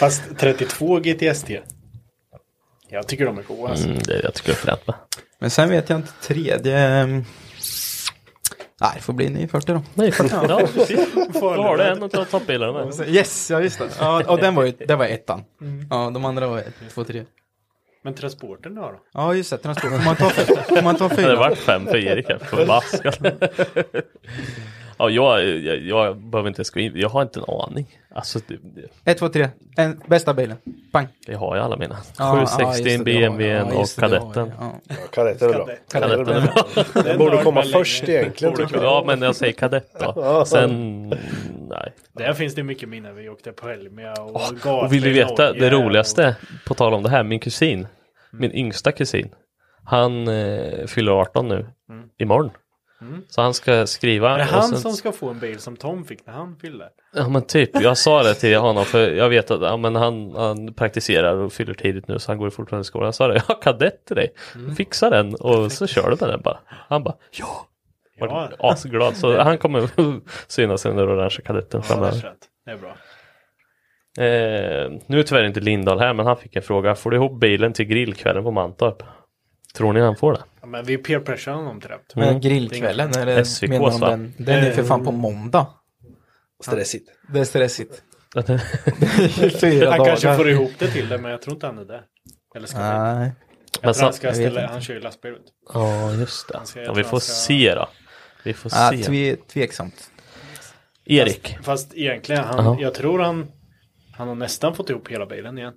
Fast 32 GTST. Jag tycker de är goa. Alltså.
Mm, det jag tycker jag är fränt med.
Men sen vet jag inte, tredje... ehm, Nej, det får bli en ny 40 då.
Nej, fan. Ja, precis. Då har du en utav toppbilarna med.
Alltså, Yes, ja just det. Mm. Ja, och den var ju, det var ettan. Ja, de andra var ett, två, tre.
Men transporten då? då?
Ja, just det, transport. Får man ta, får man ta
Det
fyra?
vart fem för Erik här, förbaskat. Ja, jag, jag, jag behöver inte ens gå in. Jag har inte en aning. Alltså, det, det-
Ett, två, tre. En, bästa bilen. Pang.
jag har ju alla mina.
Ja, ja, just
760,
det,
en
det har jag.
BMW n
Ja,
och
just det, det har jag.
kadetten.
Kadetten är bra.
Kadetten.
Kadetten är bra. Den borde komma först egentligen.
Borde-
tycker jag.
Ja, men jag säger kadett då.
Ja.
Sen, nej.
Där finns det mycket minnen. Vi åkte på Helmia och
Och vill
gator
du
i
veta det
Norge.
roligaste? På tal om det här, min kusin, min yngsta kusin, han eh, fyller 18 nu
Mm.
imorgon.
Mm.
Så han ska skriva.
Är det
och
han
sen-
som ska få en bil som Tom fick när han fyllde?
Ja men typ, jag sa det till honom för jag vet att ja, men han, han praktiserar och fyller tidigt nu så han går fortfarande i skolan. Jag sa det, jag har kadett till dig,
Mm.
fixa den och så kör du med den bara. Han bara, ja! Var asglad, så han kommer synas i den där orangea kadetten
Ja, det är
framöver.
rätt. Det är bra.
Eh, nu är tyvärr inte Lindahl här men han fick en fråga, får du ihop bilen till grillkvällen på Mantorp? Tror ni han får det?
Ja, men vi peer pressure honom till det.
Men grillkvällen, eller
SVKs,
menar de
va?
den? Den är för fan på måndag.
Stressigt.
Det är stressigt. Fyra
han kanske
dagar.
får ihop det till det, men jag tror inte han är där. Eller ska han?
Nej.
Jag tror
Men så-
han, ska
jag vet
ställa,
inte.
han kör ju lastbil. vet du.
Ja just det.
Han ska- jag
Ja,
tror
vi
han
får
ska-
se då. Vi får
Ah,
se.
tve, tveksamt.
Erik,
Fast, fast egentligen, han,
Jaha.
jag tror han, han har nästan fått ihop hela bilen igen.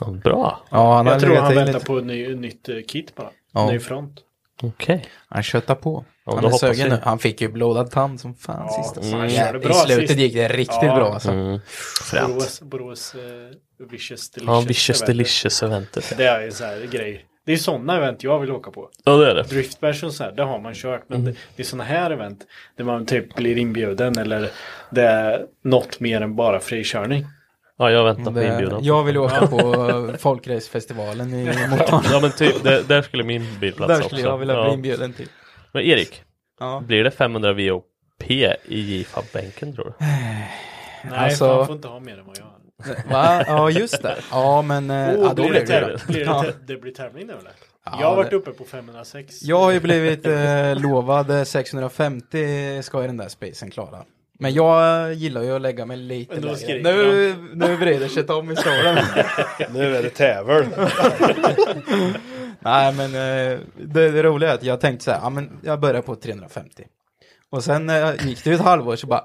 Ja, bra.
Ja, han har
jag tror
legat
han
i
väntar
lite.
på ett ny, nytt eh, kit bara.
Ja.
Ny front.
Okej.
Han köttar på.
Ja,
han
då
är
hoppas
sögen
vi.
nu. Han fick ju blodad tand som fan
Ja,
sista.
fan, han
Ja,
körde
I
bra
slutet
sist.
gick det riktigt
Ja.
bra alltså.
Mm. Fränt.
Borås, Borås eh, Vicious Delicious.
Ja, Vicious
event.
Delicious eventet.
Det är ju så här grej. Det är sådana event jag vill åka på.
Ja det är det.
Driftbärs och så här, det har man kört. Men
Mhm.
det, det är sådana här event där man typ blir inbjuden eller det är något mer än bara frikörning.
Ja jag väntar på
Det,
inbjudan.
jag vill åka på eh, folkracefestivalen i Motala.
Ja men typ, där, där skulle min bilplats
Där
också.
skulle jag vilja bli
ja.
inbjuden till.
Men Erik,
Ja.
blir det 500 VOP i JFAB-bänken tror du?
Nej,
Alltså-
fan får inte ha mer än vad jag har.
Va? Ja, just det. Ja, men eh,
Oh,
ja, då
blir
blev
det,
det
täv-
ju
blir det,
Ja.
tä- det blir tävling nu eller? jag har
det-
varit uppe på 506.
Jag har ju blivit eh, lovad eh, 650 ska ju den där spacen klara. Men jag gillar ju att lägga mig lite
Men då
lägre.
skriker
Nu, nu vrider sig Tom i stolen.
Nu är det tävel.
Nej men eh, det, det roliga är att jag tänkte så här, ja men jag börjar på 350. Och sen eh, gick det ju ett halvår så bara,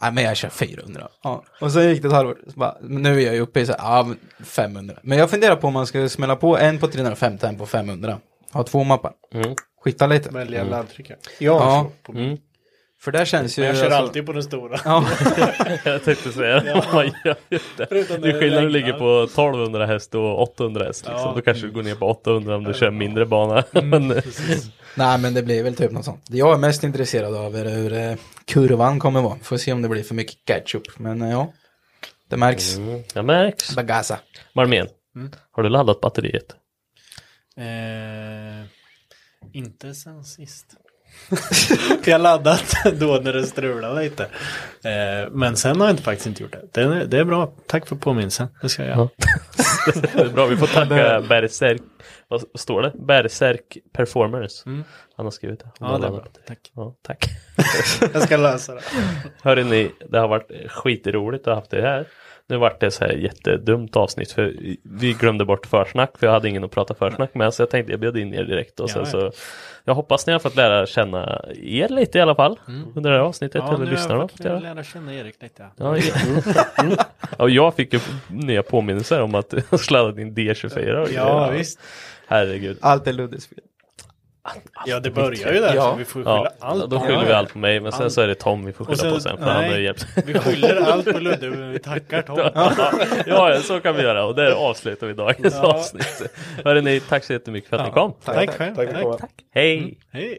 nej men jag kör 400. Ja. Och sen gick det ett halvår, så bara, men nu är jag ju uppe i så här, ja men 500. Men jag funderar på om man ska smälla på en på 350 en på 500. Ha två mappar.
Mm.
Skita lite.
Välja laddtryckare.
Mm. ja.
På min.
För där känns ju...
Men jag kör
alltså-
alltid på den stora.
Ja.
Jag tänkte säga det. Man gör ju det. Det
Förutom när
är
det
skillnad om du
regnar.
ligger på 1200 häst och 800 häst. Liksom.
Ja. Mm,
Då kanske du går ner på 800 om du kör mindre bana. Men,
Nej men det blir väl typ något sånt. Det jag är mest intresserad av är hur eh, kurvan kommer vara. Får se om det blir för mycket ketchup. Men eh, ja, det märks.
mm, jag märks.
Bagasa.
Marmén,
Mm.
har du laddat batteriet?
Eh, inte sen sist. jag laddat då när det strulade lite. Eh, men sen har jag inte, faktiskt inte gjort det. Det är, det är bra. Tack för påminnelsen. Det ska jag göra.
Det är bra, vi får tacka Berserk. Vad står det? Berserk Performers. Han har skrivit det.
Mm. Ja,
Han har
det är
laddat
bra.
batteriet.
Tack.
Ja, tack.
Jag ska lösa det.
Hörru ni, det har varit skitroligt att ha haft det här. Nu vart det så här jättedumt avsnitt för vi glömde bort försnack för jag hade ingen att prata försnack med så jag tänkte jag bjöd in er direkt och sen
Ja,
så Jag hoppas ni har fått lära känna er lite i alla fall under det här avsnittet
Mm. Ja, nu
eller
har jag
lyssnarna har
fått
fått göra.
lära känna Erik lite.
Ja, ja. Mm. ja, jag fick ju nya påminnelser om att jag sladdat in D24 och
Ja, visst.
Herregud.
Allt är Luddes fel.
Ja, det börjar ju där.
Ja.
Så vi får ju skylla
Ja,
allt.
då skyller
Ja,
vi
ja.
allt på mig men sen så är det Tom vi får skylla
Och sen-
på sen för han
nej.
har hjälpt
Vi skyller allt på Ludde, men vi tackar Tom.
ja, ja, så kan vi göra och där avslutar vi dagens avsnitt. Hörrni, tack så jättemycket för att ni kom.
Tack själv.
Tack för att komma.
Hej!
Hej.